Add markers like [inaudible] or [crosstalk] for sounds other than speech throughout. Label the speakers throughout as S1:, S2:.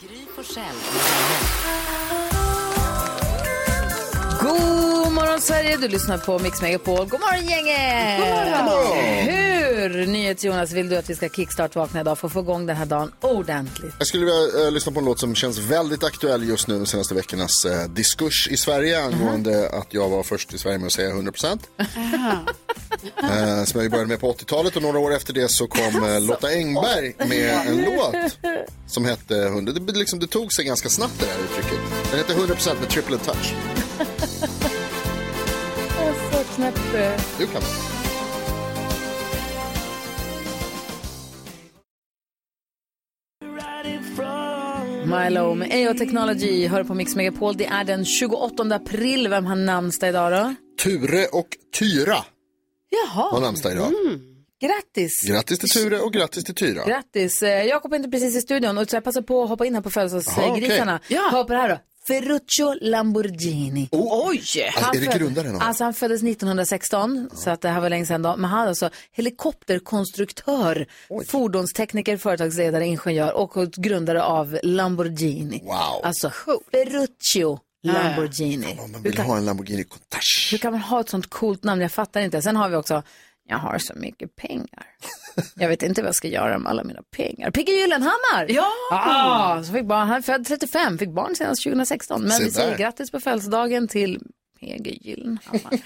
S1: Gry Forssell med vänner.
S2: God morgon Sverige, du lyssnar på Mix Megapol. God morgon gänget! God morgon! Hur, NyhetsJonas, vill du att vi ska kickstart-vakna idag för att få igång den här dagen ordentligt?
S3: Jag skulle vilja eh, lyssna på en låt som känns väldigt aktuell just nu de senaste veckornas eh, diskurs i Sverige angående
S2: Mhm.
S3: att jag var först i Sverige med att säga 100 procent. eh, som jag ju började med på 80-talet och några år efter det så kom eh, Lotta Engberg med en låt som hette 100. Det, liksom, det tog sig ganska snabbt det här uttrycket. Den hette 100 procent med triple touch.
S2: Så knäppt. eh,
S3: Du kan den.
S2: Milo med AO Technology hör på Mix Megapol. Det är den 28 april. Vem har namnsdag idag då?
S3: Ture och Tyra har
S2: Jaha, Mm.
S3: namnsdag idag.
S2: grattis!
S3: Grattis till Ture och grattis till Tyra.
S2: Grattis! Eh, Jakob är inte precis i studion och så jag passar på att hoppa in här på
S3: Jaha, okej.
S2: födelsedagsgrisarna.
S1: Ja.
S2: Hör på det här då. Ferruccio Lamborghini.
S1: Oj!
S3: Alltså, är det
S2: föd-
S3: grundaren av?
S2: Alltså han föddes 1916, så att det här var länge sedan då. Men han är alltså helikopterkonstruktör, fordonstekniker, företagsledare, ingenjör och grundare av Lamborghini.
S3: Wow.
S2: Alltså Ferruccio Lamborghini.
S3: Om man vill ha en Lamborghini Countach.
S2: Hur kan man ha ett sånt coolt namn? Jag fattar inte. Sen har vi också, jag har så mycket pengar. Jag vet inte vad jag ska göra med alla mina pengar. Pigge Gyllenhammar!
S1: Ja!
S2: Ah, så fick barn, han är född 35, fick barn senast 2016. Men
S3: Se
S2: vi säger
S3: där.
S2: grattis på födelsedagen till P.G. Gyllenhammar.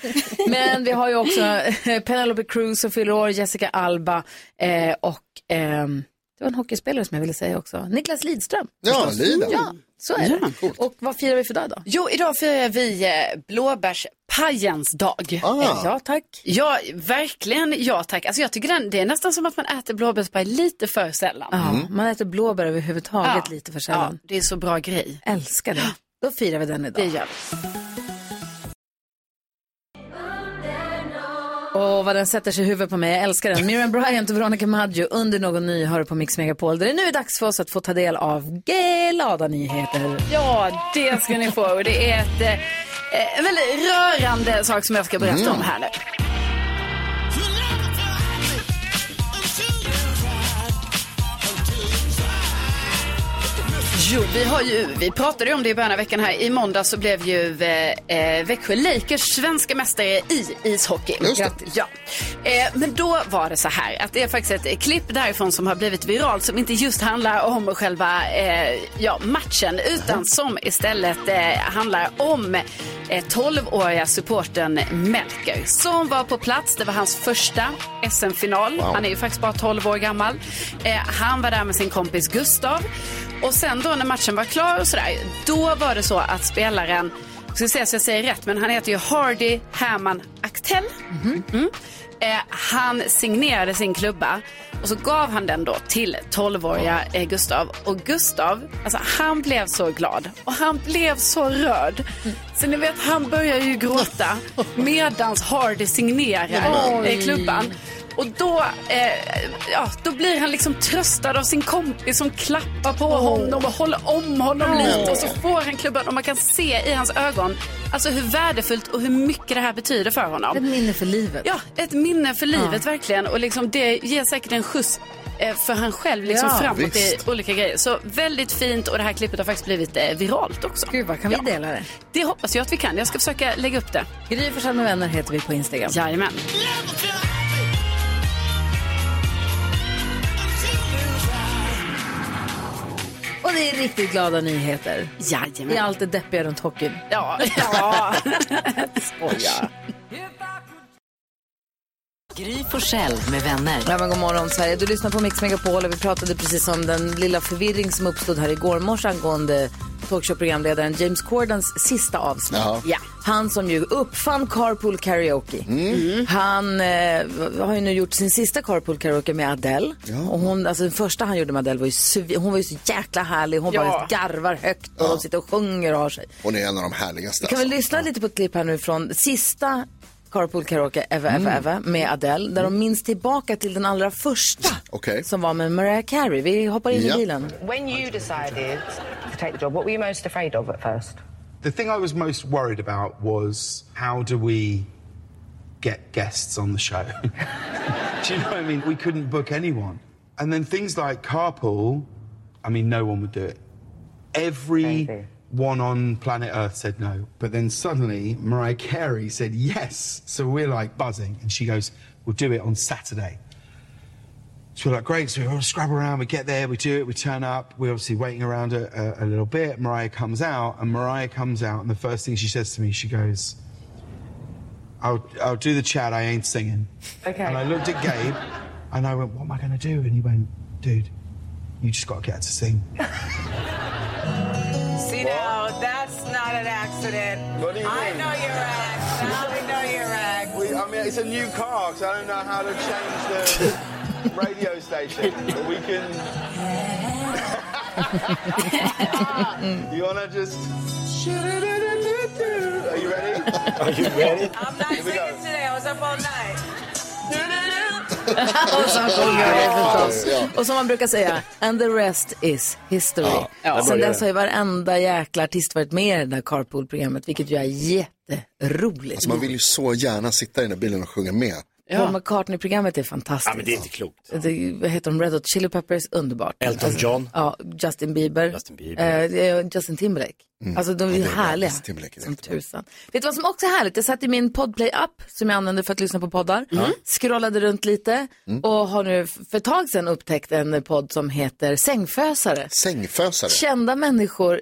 S2: Men vi har ju också eh, [laughs] Penelope Cruz som fyller år, Jessica Alba eh, och ehm, det var en hockeyspelare som jag ville säga också. Niklas Lidström.
S3: Ja, Lida.
S2: Ja, så är det. Och vad firar vi för dag då?
S1: Jo, idag firar vi eh, blåbärspajens dag.
S3: Ah.
S2: Ja, tack.
S1: Ja, verkligen. Ja, tack. Alltså, jag tycker den, det är nästan som att man äter blåbärspaj lite för sällan.
S2: Ja, Man äter blåbär överhuvudtaget
S1: Mm. Ja.
S2: lite för sällan.
S1: Ja, det är så bra grej.
S2: Älskar det. Då firar vi den idag.
S1: Det gör vi.
S2: Åh, vad den sätter sig i huvudet på mig. Jag älskar den. Miriam Bryant och Veronica Maggio under någon ny hör på Mix Megapol. Där det nu är dags för oss att få ta del av glada nyheter.
S1: Ja, det ska ni få. Och det är ett, eh, en väldigt rörande sak som jag ska berätta
S3: Mm.
S1: om här nu. Jo, vi, har ju, vi pratade ju om det i början av veckan här. I måndag så blev ju eh, eh, Växjö Lakers svenska mästare i ishockey.
S3: Just det.
S1: Grattis. Ja. Eh, men då var det så här att det är faktiskt ett klipp därifrån som har blivit viralt som inte just handlar om själva eh, ja, matchen utan som istället eh, handlar om eh, 12-åriga supporten Melker som var på plats. Det var hans första SM-final. Han är ju faktiskt bara 12 år gammal. Eh, han var där med sin kompis Gustav och sen då när matchen var klar och sådär, då var det så att spelaren jag ska se så jag säger rätt, men han heter ju Hardy Herman Aktell. Mm. Eh, han signerade sin klubba och så gav han den då till 12-åriga eh, Gustav. Och Gustav, alltså han blev så glad och han blev så rörd. Så ni vet, han börjar ju gråta medans Hardy signerar eh, klubban. Och då, eh, ja, då blir han liksom tröstad av sin kompis som klappar på honom och håller om honom lite. Och så får han klubban och man kan se i hans ögon alltså hur värdefullt och hur mycket det här betyder för honom.
S2: Ett minne för livet.
S1: Ja, ett minne för livet verkligen. Och liksom det ger säkert en skjuts eh, för han själv liksom
S2: Ja,
S1: framåt
S3: visst.
S1: i olika grejer. Så väldigt fint och det här klippet har faktiskt blivit eh, viralt också.
S2: Gud, vad kan vi
S1: Ja.
S2: dela det?
S1: Det hoppas jag att vi kan. Jag ska försöka lägga upp det.
S2: Gry Forssell med vänner heter vi på Instagram.
S1: Jajamän.
S2: Och det är riktigt glada nyheter.
S1: Jajamän.
S2: Det är allt det deppiga runt hockeyn. [laughs]
S1: Ja. ja.
S2: Skoja.
S1: Gry Forssell med vänner.
S2: Ja, men god morgon Sverige. Du lyssnar på Mix Megapol och vi pratade precis om den lilla förvirring som uppstod här igår morse angående talkshowprogramledaren James Cordans sista avsnitt.
S3: Ja.
S1: Ja.
S2: Han som ju uppfann carpool karaoke. Han eh, har ju nu gjort sin sista carpool karaoke med Adele. Och hon, alltså den första han gjorde med Adele var ju, svi- hon var ju så jäkla härlig. Hon
S1: Ja.
S2: bara garvar högt och de sitter och sjunger och har sig.
S3: Hon är en av de härligaste.
S2: Kan vi
S3: alltså.
S2: lyssna lite på ett klipp här nu från sista Carpool Karaoke Eva Eva Eva med Adele där de minns tillbaka till den allra första
S3: Okej.
S2: som var med Mariah Carey. Vi hoppar in
S3: Ja.
S2: i bilen.
S4: When you decided to take the job, what were you most afraid of at first?
S5: The thing I was most worried about was how do we get guests on the show? [laughs] do you know what I mean? We couldn't book anyone. And then things like carpool, I mean, no one would do it. Every one on planet Earth said no. But then suddenly Mariah Carey said yes. So we're like buzzing. And she goes, We'll do it on Saturday. So we're like, great. So we all scrub around, we get there, we do it, we turn up. We're obviously waiting around a, a, a little bit. Mariah comes out, and Mariah comes out, and the first thing she says to me, she goes, I'll, I'll do the chat, I ain't singing. [laughs]
S4: Okay.
S5: And I looked at Gabe, and I went, What am I going to do? And he went, Dude, you just got to get her to sing.
S6: See now, that's not
S5: [laughs]
S6: an accident.
S5: What do you
S6: I
S5: mean?
S6: know your act. I know your act.
S5: We, I mean, it's a new car, so I don't know how to
S6: [laughs]
S5: change the radio station. But we can. you wanna just. Are you ready? Are you ready?
S6: I'm not
S5: we go.
S6: singing today. I was up all night.
S2: [laughs] Och så sjunger jag det förstås.
S3: Ja.
S2: Och som man brukar säga, and the rest is history.
S7: där
S2: Sen
S7: börjar
S2: dess
S7: det.
S2: har ju varenda jäkla artist varit med i det där carpool-programmet, vilket ju är jätteroligt.
S3: Alltså, man vill ju så gärna sitta i den där bilen och sjunga med.
S2: Paul McCartney-programmet är fantastiskt.
S7: Ja, men det är inte klokt.
S2: Det- vad heter de? Red Hot Chili Peppers, underbart. Alltså,
S7: Elton John.
S2: Ja, Justin Bieber.
S7: Justin Bieber.
S2: Eh, eh, Justin Timberlake. Alltså de är ju
S3: Mm. det är bra.
S2: härliga.
S3: Justin Timberlake är
S2: som
S3: jättebra.
S2: tusan. Vet du vad som också är härligt? Jag satt i min Podplay-app som jag använder för att lyssna på poddar. Mm. Scrollade runt lite
S3: Mm.
S2: och har nu för ett tag sedan upptäckt en podd som heter Sängfösare.
S3: Sängfösare,
S2: Kända människor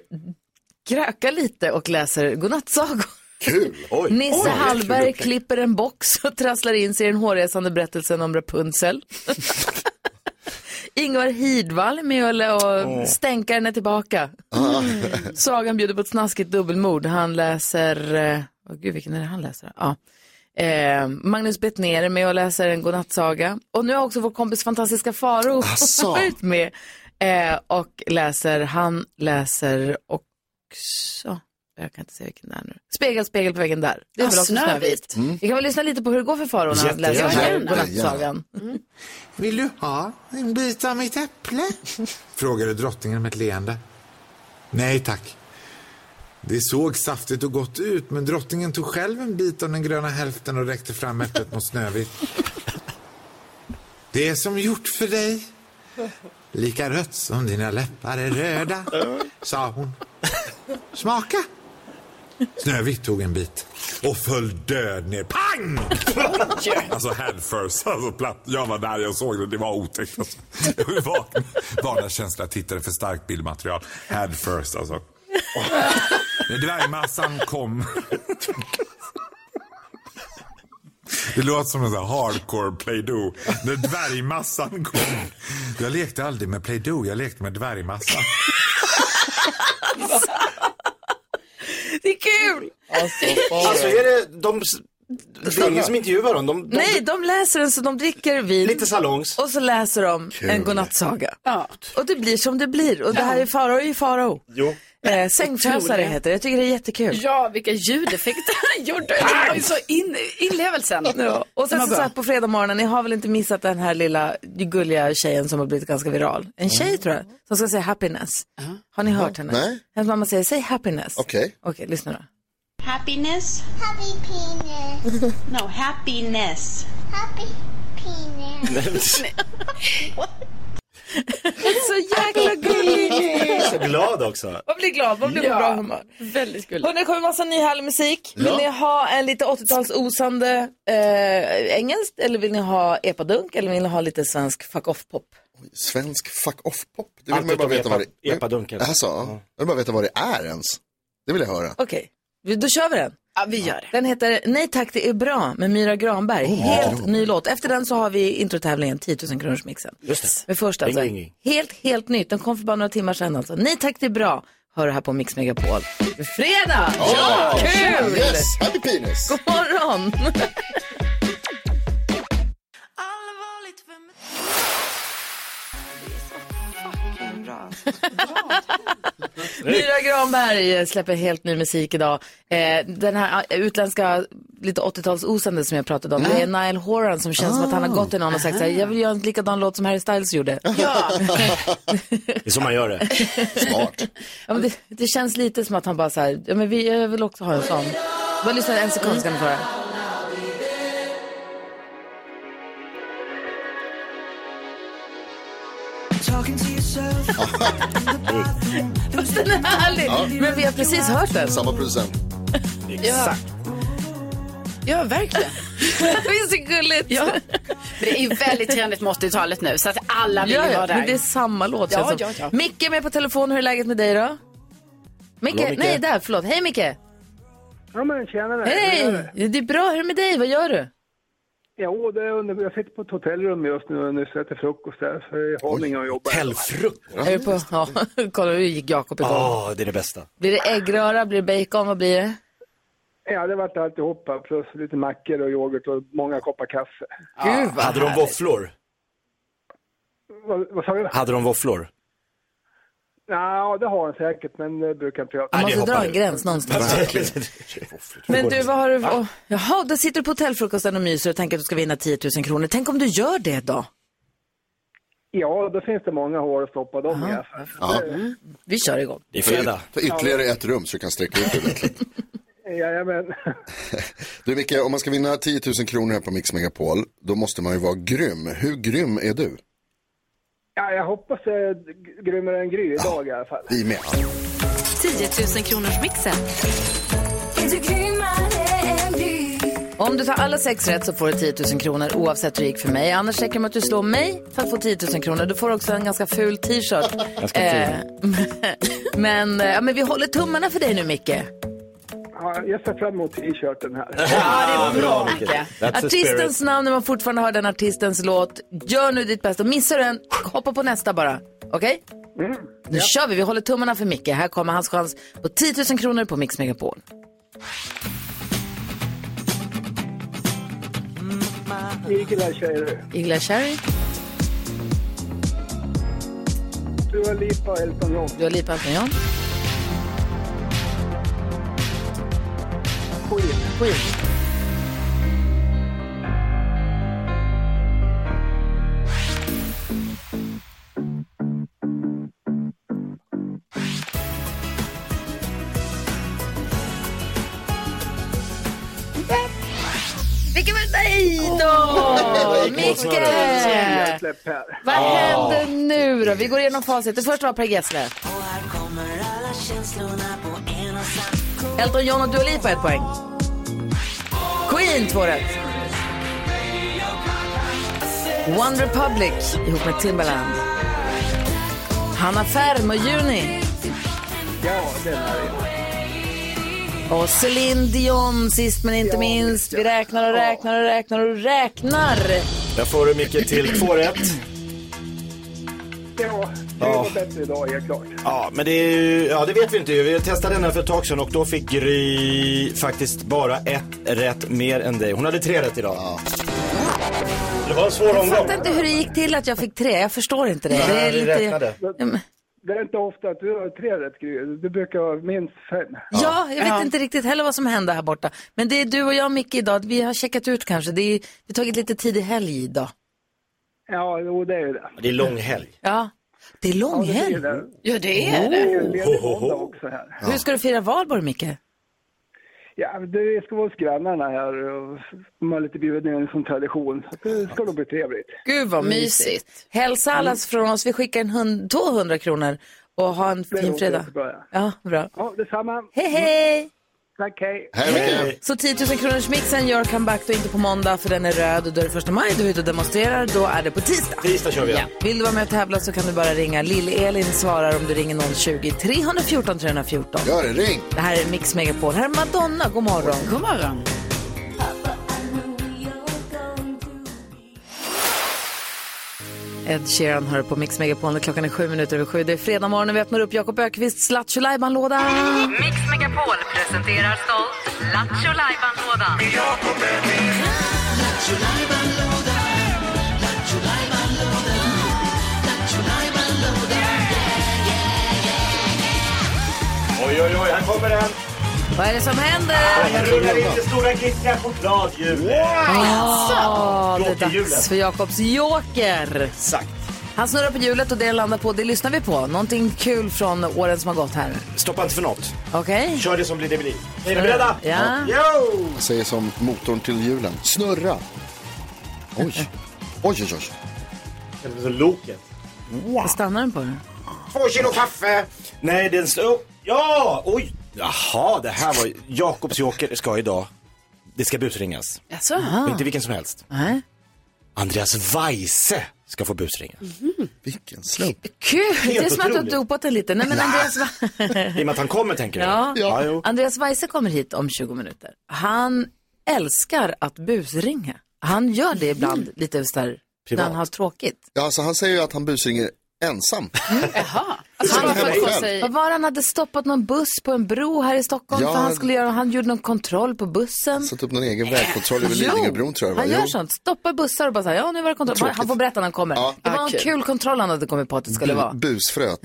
S2: krökar lite och läser godnattsagor.
S3: kul!
S7: Oj.
S2: Nisse
S7: Oj.
S2: Hallberg klipper en box och trasslar in sig i den hårresande berättelsen om Rapunzel. Ingvar Hidvall är med och, och stänkar henne tillbaka. Sagan bjuder på ett snaskigt dubbelmord. Han läser, eh, åh gud vilken är det han läser? Ja. Eh, Magnus Bettner är med och läser en godnattsaga. Och nu har också vår kompis fantastiska Faro [laughs]
S3: Asså.
S2: varit med eh, och läser, han läser också, jag kan inte säga vilken det är nu. Spegel, spegel på väggen där. Det är
S1: Ja,
S2: väl också
S1: Snövit.
S2: Ah, Snövit. Vi kan väl lyssna lite på hur det går för Faro när han
S7: Jättegärna.
S2: läser den här
S3: Jättegärna.
S2: godnattsagan. Mm.
S8: Vill du ha en bit av mitt äpple? Frågade drottningen med ett leende. Nej tack. Det såg saftigt och gott ut men drottningen tog själv en bit av den gröna hälften och räckte fram äpplet mot Snövit. Det är som gjort för dig. Lika rött som dina läppar är röda, sa hon. Smaka! Snövit tog en bit och föll död ner. Pang! Alltså headfirst, alltså platt. Jag var där, jag såg det, det var otäckt. Alltså. Jag vaknade, vaknade känsla, jag tittade för starkt bildmaterial. Headfirst alltså. När dvärgmassan kom. Det låter som en sån här hardcore play-doh. När dvärgmassan kom. Jag lekte aldrig med play-doh, jag lekte med dvärgmassan.
S2: [laughs] Det är kul!
S7: Alltså är det de... Det är ingen som intervjuar dem. De, de,
S2: Nej, de läser den så de dricker vin.
S7: Lite salongs.
S2: Och så läser de en godnattsaga. Och det blir som det blir. Och det här är Farao är ju Farao.
S7: Jo.
S2: Eh, sängfösare
S1: Otroligt.
S2: heter det. Jag tycker det är jättekul.
S1: Ja, vilka ljudeffekter han gjorde. Det var ju så in, inlevelsen.
S2: Ja. Och sen
S1: Den
S2: så
S1: var bra.
S2: satt på fredag morgonen, ni har väl inte missat den här lilla gulliga tjejen som har blivit ganska viral.
S7: Mm.
S2: En tjej tror jag, som ska säga happiness. Har ni hört henne?
S3: Nej.
S2: Hennes mamma säger, säg happiness.
S3: Okej.
S2: Okej, lyssna då.
S9: Happiness?
S10: Happy penis.
S9: [laughs] No, happiness.
S10: Happy penis.
S2: Så jäkla gullig!
S7: så glad också.
S2: Man blir glad, man blir på bra humör.
S1: Väldigt gulligt.
S2: Hörrni, det kommer massa ny härlig musik. Vill ni ha en lite 80-talsosande eh, engelskt eller vill ni ha epadunk eller vill ni ha lite svensk fuck off-pop?
S3: Svensk fuck off-pop, det vill
S7: Allt
S3: man ju bara
S7: utom
S3: veta vad det
S7: epa- epadunken.
S3: Alltså, jag vill bara veta vad det är ens. Det vill jag höra.
S2: Okej, då kör vi den.
S1: Ja, vi gör det.
S2: Den heter Nej tack det är bra med Myra Granberg. helt ny låt. Efter den så har vi introtävlingen 10 000 kronors mixen.
S7: Just det.
S2: Men först alltså,
S7: Ring, ring, ring.
S2: helt, helt nytt. Den kom för bara några timmar sedan alltså. Nej tack det är bra. Hör det här på Mix Megapol. Fredag!
S3: Ja,
S2: kul!
S3: Yes, happy penis!
S2: God morgon! Myra Granberg släpper helt ny musik idag. Eh, den här eh, utländska, lite 80-talsosande som jag pratade om, det är Nile Horan som känns som att han har gått till någon och sagt så här, jag vill göra en likadan låt som Harry Styles gjorde.
S7: Det är så man gör det.
S3: Smart.
S2: Ja, men det, det känns lite som att han bara så här, ja, men vi, jag vill också ha en sån. Bara lyssna en sekund ska ni få höra.
S6: Talking to yourself.
S2: Fast den är härlig.
S3: Ja.
S2: Men vi har precis hört den.
S3: Samma producent.
S2: Exakt.
S1: Ja, [laughs] verkligen.
S2: Visst är det gulligt?
S1: Ja. Men det är väldigt trendigt med 80-talet nu, så att alla vill
S2: Ja, ja,
S1: vara där.
S2: men det är samma låt.
S1: Ja,
S2: känns som.
S1: ja, ja.
S2: Micke är med på telefon. Hur är läget med dig då? Micke,
S11: Hallå, Micke.
S2: nej där, förlåt. Hej Micke!
S11: Ja men tjenare.
S2: Hej! Det är bra, hur är det med dig? Vad gör du?
S11: Jo, det är under... jag sitter på ett hotellrum just nu och nyss äter frukost där. Så i Haninge och jobbar.
S2: Är du på, ja, [laughs] kolla hur gick Jakob igång.
S7: Ja, det är det bästa.
S2: Blir det äggröra, blir det bacon, vad blir det?
S11: Ja, det vart alltihopa. Plus lite mackor och yoghurt och många koppar kaffe.
S2: Gud vad
S7: Hade de våfflor?
S11: Vad, vad sa du?
S7: Hade de våfflor?
S11: Ja, det har han säkert, men det brukar inte jag.
S2: Man måste dra en gräns någonstans. Men du, vad har du... Åh, jaha, då sitter du på hotellfrukosten och myser och tänker att du ska vinna 10 000 kronor. Tänk om du gör det då?
S11: Ja, då finns det många hål att stoppa dem i. alltså.
S3: Ja.
S2: Mm. Vi kör igång.
S7: Det är fredag.
S3: Ta ytterligare ett rum så du kan sträcka ut det ordentligt. [laughs]
S11: Jajamän.
S3: Du Micke, om man ska vinna 10 000 kronor här på Mix Megapol, då måste man ju vara grym. Hur grym är du?
S11: [laughs] Ja, jag hoppas det är g- grymmare än Gry idag i alla fall.
S3: Vi med.
S12: 10 000 kronors mixen.
S2: Om du tar alla sex rätt så får du 10 000 kronor oavsett hur det gick för mig. Annars räcker det med att du slår mig för att få 10 000 kronor. Du får också en ganska ful t-shirt. Eh,
S11: Ganska
S2: men, eh, ja, men vi håller tummarna för dig nu Micke.
S11: Ja, jag ser fram emot t-shirten här.
S2: Ja, det är bra, Artistens
S11: Artistens...
S2: namn när man fortfarande hör den artistens låt. Gör nu ditt bästa. Missar du en, hoppa på nästa bara. Okej?
S11: Mm.
S2: Nu kör vi. Vi håller tummarna för Micke. Här kommer hans chans på 10 000 kronor på Mix Megapol.
S11: Eagle-eye tjejer.
S2: Igla Cherry.
S11: Dua Lipa och Elton John.
S2: Dua Lipa Elton John.
S11: Queen.
S2: Queen. Vilken var Nej då! Micke! Vad händer nu då? Vi går igenom facit. Det första var Per Gessle. Elton John och Dua Lipa ett poäng. Queen två rätt. One Republic ihop med Timbaland. Hanna Ferm och Juni.
S11: Ja, den är det.
S2: Och Celine Dion sist men inte minst. Vi räknar och räknar och räknar och räknar.
S7: Där får du Micke till två rätt.
S11: Ja, det
S7: Ja.
S11: var bättre idag, helt klart.
S7: Ja, men det, är ju, ja, det vet vi inte ju. Vi testade den här för ett tag sedan och då fick Gry faktiskt bara ett rätt mer än dig. Hon hade tre rätt idag. Det var en svår
S2: Jag
S7: omgång.
S2: fattar inte hur det gick till att jag fick tre. Jag förstår inte det. det
S7: Nej,
S2: är
S7: vi
S2: lite...
S7: räknade.
S11: Det är inte ofta att du har tre rätt, Gry. Du brukar ha minst fem.
S2: Ja, jag vet inte riktigt heller vad som hände här borta. Men det är du och jag, Micke, idag. Vi har checkat ut kanske. Det är, vi har tagit lite tidig helg idag.
S11: Ja, jo, det är ju det.
S7: Det är lång helg.
S2: Ja. Det är lång helg.
S1: Ja, det är
S11: Det är
S1: det.
S11: ju en ledig måndag också här.
S2: Hur ska du fira valborg, Micke?
S11: Ja, det ska vara hos grannarna här och de har lite bjudit ner som tradition. Så det ska nog bli trevligt.
S2: Gud vad mysigt. Mm. Hälsa allas från oss. Vi skickar en hund, 200 kronor och ha en
S11: Det
S2: fin
S11: låter
S2: fredag.
S11: jättebra, ja.
S2: Ja, bra.
S11: Ja, detsamma.
S2: Hej, hej!
S11: Tack, hej.
S2: Så 10 000 kronors mixen gör comeback då inte på måndag för den är röd och då är det första maj, du är ute och demonstrerar, då är det på tisdag.
S7: Tisdag kör vi igen.
S2: Vill du vara med och tävla så kan du bara ringa. Lill-Elin svarar om du ringer 020 314 314.
S3: Gör det, ring!
S2: Det här är Mix Megapol. Här är Madonna, god morgon.
S1: God morgon.
S2: Ed Sheeran hör på Mix Megapol och klockan är sju minuter över sju. Det är fredag morgon och vi öppnar upp Jakob Ökvists Lattjo Lajban-låda.
S6: Mm.
S12: Mix Megapol presenterar stolt Lattjo Lajban-lådan.
S7: Oj, oj, oj, här kommer den.
S2: Vad är det som
S7: Den rullar in
S2: händer?
S7: det stora glittriga chokladhjulet.
S2: Ja, Ah, det är
S7: Jokerhjulet.
S2: dags för Jakobs joker.
S7: Exakt.
S2: Han snurrar på hjulet och det han landar på, det lyssnar vi på. Någonting kul från åren som har gått här.
S7: Stoppa inte för något.
S2: Okej?
S7: Kör det som blir det blir. Är ni beredda?
S2: Ja.
S7: Yo!
S3: Jag säger som motorn till hjulen.
S2: [laughs]
S3: Snurra! Oj. Oj, oj, oj.
S7: Det är så Loket.
S2: Vad stannar den på då?
S7: Två kilo kaffe. Nej, den står... Ja! Oj! Jaha, det här var... Jakobs Joker ska idag... Det ska busringas.
S12: Jaså?
S2: Ah.
S7: Och inte vilken som helst.
S2: Nej.
S7: Andreas Weise ska få busringa.
S3: Vilken slump.
S2: Kul!
S7: Helt
S2: det är som att du har
S7: otroligt.
S2: dopat den lite. Nej, men Andreas, Wa-
S7: I och med att han kommer tänker du?
S2: ja.
S7: ja jo.
S2: Andreas Weise kommer hit om 20 minuter. Han älskar att busringa. Han gör det ibland
S7: Mm.
S2: lite så här, när
S3: Privat.
S2: han har tråkigt.
S3: Ja, alltså, han säger ju att han busringer ensam.
S2: Alltså,
S3: han
S2: var
S3: hemma
S2: på
S3: själv.
S2: sig... Vad var det? han hade stoppat någon buss på en bro här i Stockholm
S3: Ja.
S2: för han skulle göra, han gjorde någon kontroll på bussen.
S3: Satt upp någon egen vägkontroll
S2: [laughs]
S3: över Lidingöbron tror jag det var.
S2: Han gör
S3: Jo.
S2: sånt, stoppar bussar och bara så här, ja nu var det kontroll.
S3: Tråkigt.
S2: Han får berätta när han kommer. Det var en kul kontroll han hade kommit på att det skulle
S3: Bu-
S2: vara.
S3: Busfröt,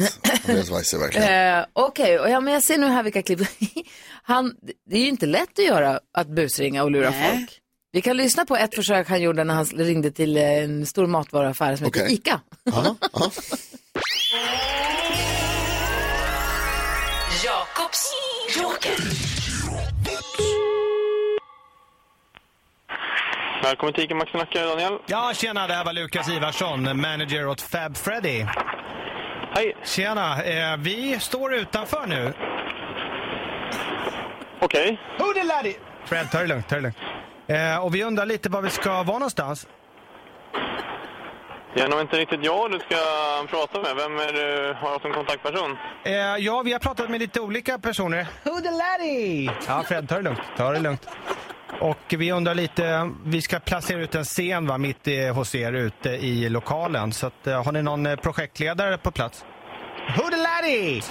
S3: Andreas Weise verkligen.
S2: Eh, Okej, och ja, men jag ser nu här vilka klipp. [laughs] Han, det är ju inte lätt att göra att busringa och lura folk. Vi kan lyssna på ett försök han gjorde när han ringde till eh, en stor matvaruaffär som heter
S3: Okej.
S2: ICA.
S3: Ja, ja.
S2: [laughs]
S1: Jakobs Joker.
S13: Välkommen till ICA Maxi Nacka, Daniel.
S14: Ja, tjena, det här var Lukas Ivarsson, manager åt Fab Freddy. Hej. Tjena, eh, vi står utanför nu. Okej. Okay. laddy! Fred, ta det lugnt, ta det lugnt. Eh, och vi undrar lite var vi ska vara någonstans.
S13: Det är nog inte riktigt jag du ska prata med. Vem är du, har du som kontaktperson?
S14: [laughs] Eh, ja, vi har pratat med lite olika personer. Hoodaladi! Ja, Fred, ta det lugnt. Ta det lugnt. Och vi undrar lite, vi ska placera ut en scen va, mitt eh, hos er ute i lokalen. Så att, eh, har ni någon eh, projektledare på plats? Hoodaladi!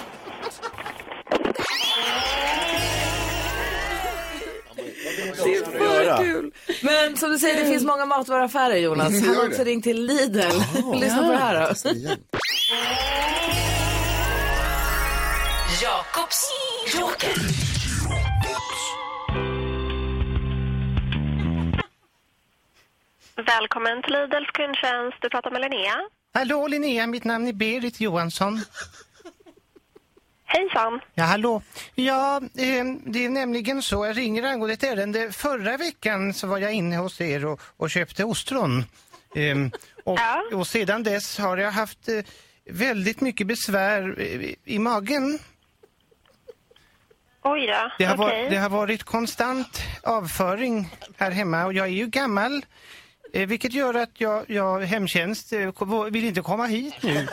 S2: Vad kul! Men som du säger, det finns många matvaruaffärer Jonas.
S1: Mm, det
S2: Han har
S1: gör det.
S2: också ringt till Lidl. Lyssna på det här då.
S1: Jakobs Joker.
S6: Välkommen till Lidls kundtjänst. Du pratar med Linnea.
S14: Hallå Linnea, mitt namn är Berit Johansson.
S6: Hejsan.
S14: Ja, hallå. Ja, eh, det är nämligen så, jag ringer angående ett ärende. Förra veckan så var jag inne hos er och, och köpte ostron. Ehm, och, och sedan dess har jag haft eh, väldigt mycket besvär eh, i magen.
S6: Oj då.
S14: Det har, var,
S6: Okej.
S14: det har varit konstant avföring här hemma och jag är ju gammal. Eh, vilket gör att jag, jag hemtjänst eh, ko- vill inte komma hit
S6: [laughs]
S14: nu.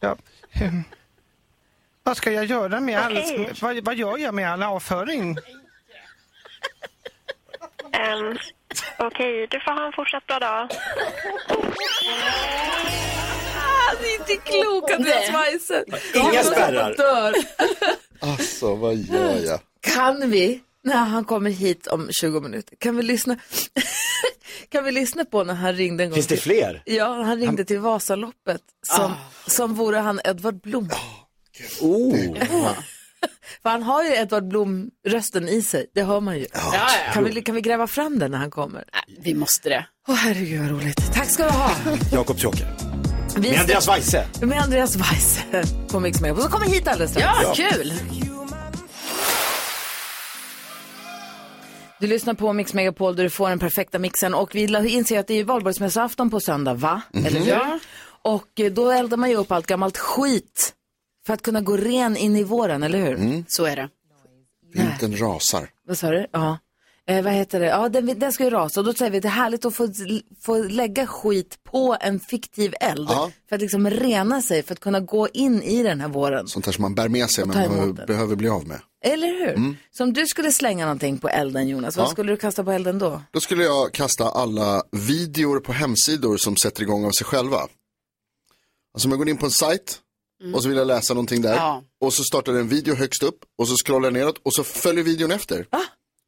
S14: Ja. ehm, Vad ska jag göra med all,
S6: Okej.
S14: vad, vad gör jag med all avföring?
S6: Ehm, Okej, du får ha en fortsatt bra dag.
S2: Ah, Det är inte klokt Andreas Weise.
S3: [laughs] Inga
S2: Hoppas att han
S3: spärrar.
S2: dör.
S3: Alltså vad gör jag?
S2: Kan vi, när han kommer hit om 20 minuter, kan vi lyssna, [laughs] kan vi lyssna på när han ringde en gång
S7: Finns det
S2: till-
S7: fler?
S2: Ja, när han ringde till Vasaloppet som, som vore han Edvard Blom.
S7: Oh.
S2: För han har ju Edvard Blom-rösten i sig, det hör man ju.
S12: ja.
S2: Kan, vi, kan vi gräva fram den när han kommer?
S12: Vi måste det.
S2: Åh herregud vad roligt. Tack ska du ha.
S7: Jakobs Joker.
S2: Vi
S7: Med
S2: ska-
S7: Andreas Weise.
S2: Med Andreas Weise på Mix Megapol. Kommer hit alldeles strax.
S12: Ja, Ja. kul.
S2: Du lyssnar på Mix Megapol där du får den perfekta mixen och vi la- inser att det är ju valborgsmässoafton på söndag, va?
S1: Mhm.
S2: Eller hur?
S1: Ja.
S2: Och eh, då eldar man ju upp allt gammalt skit för att kunna gå ren in i våren, eller hur?
S7: Mm.
S12: Så är det.
S3: Vintern rasar.
S2: Vad sa du? Ja. Eh, vad heter det? Ja, den, den ska ju rasa och då säger vi att det är härligt att få, få lägga skit på en fiktiv eld. För att liksom rena sig, för att kunna gå in i den här våren.
S3: Sånt här som man bär med sig men
S2: ta emot
S3: behöver, behöver bli av med.
S2: Eller hur?
S3: Mm.
S2: Så om du skulle slänga någonting på elden Jonas, vad
S3: Ja.
S2: skulle du kasta på elden då?
S3: Då skulle jag kasta alla videor på hemsidor som sätter igång av sig själva. Alltså om jag går in på en sajt och så vill jag läsa någonting där.
S12: Mm. Ja.
S3: Och så startar en video högst upp och så scrollar jag neråt och så följer videon efter.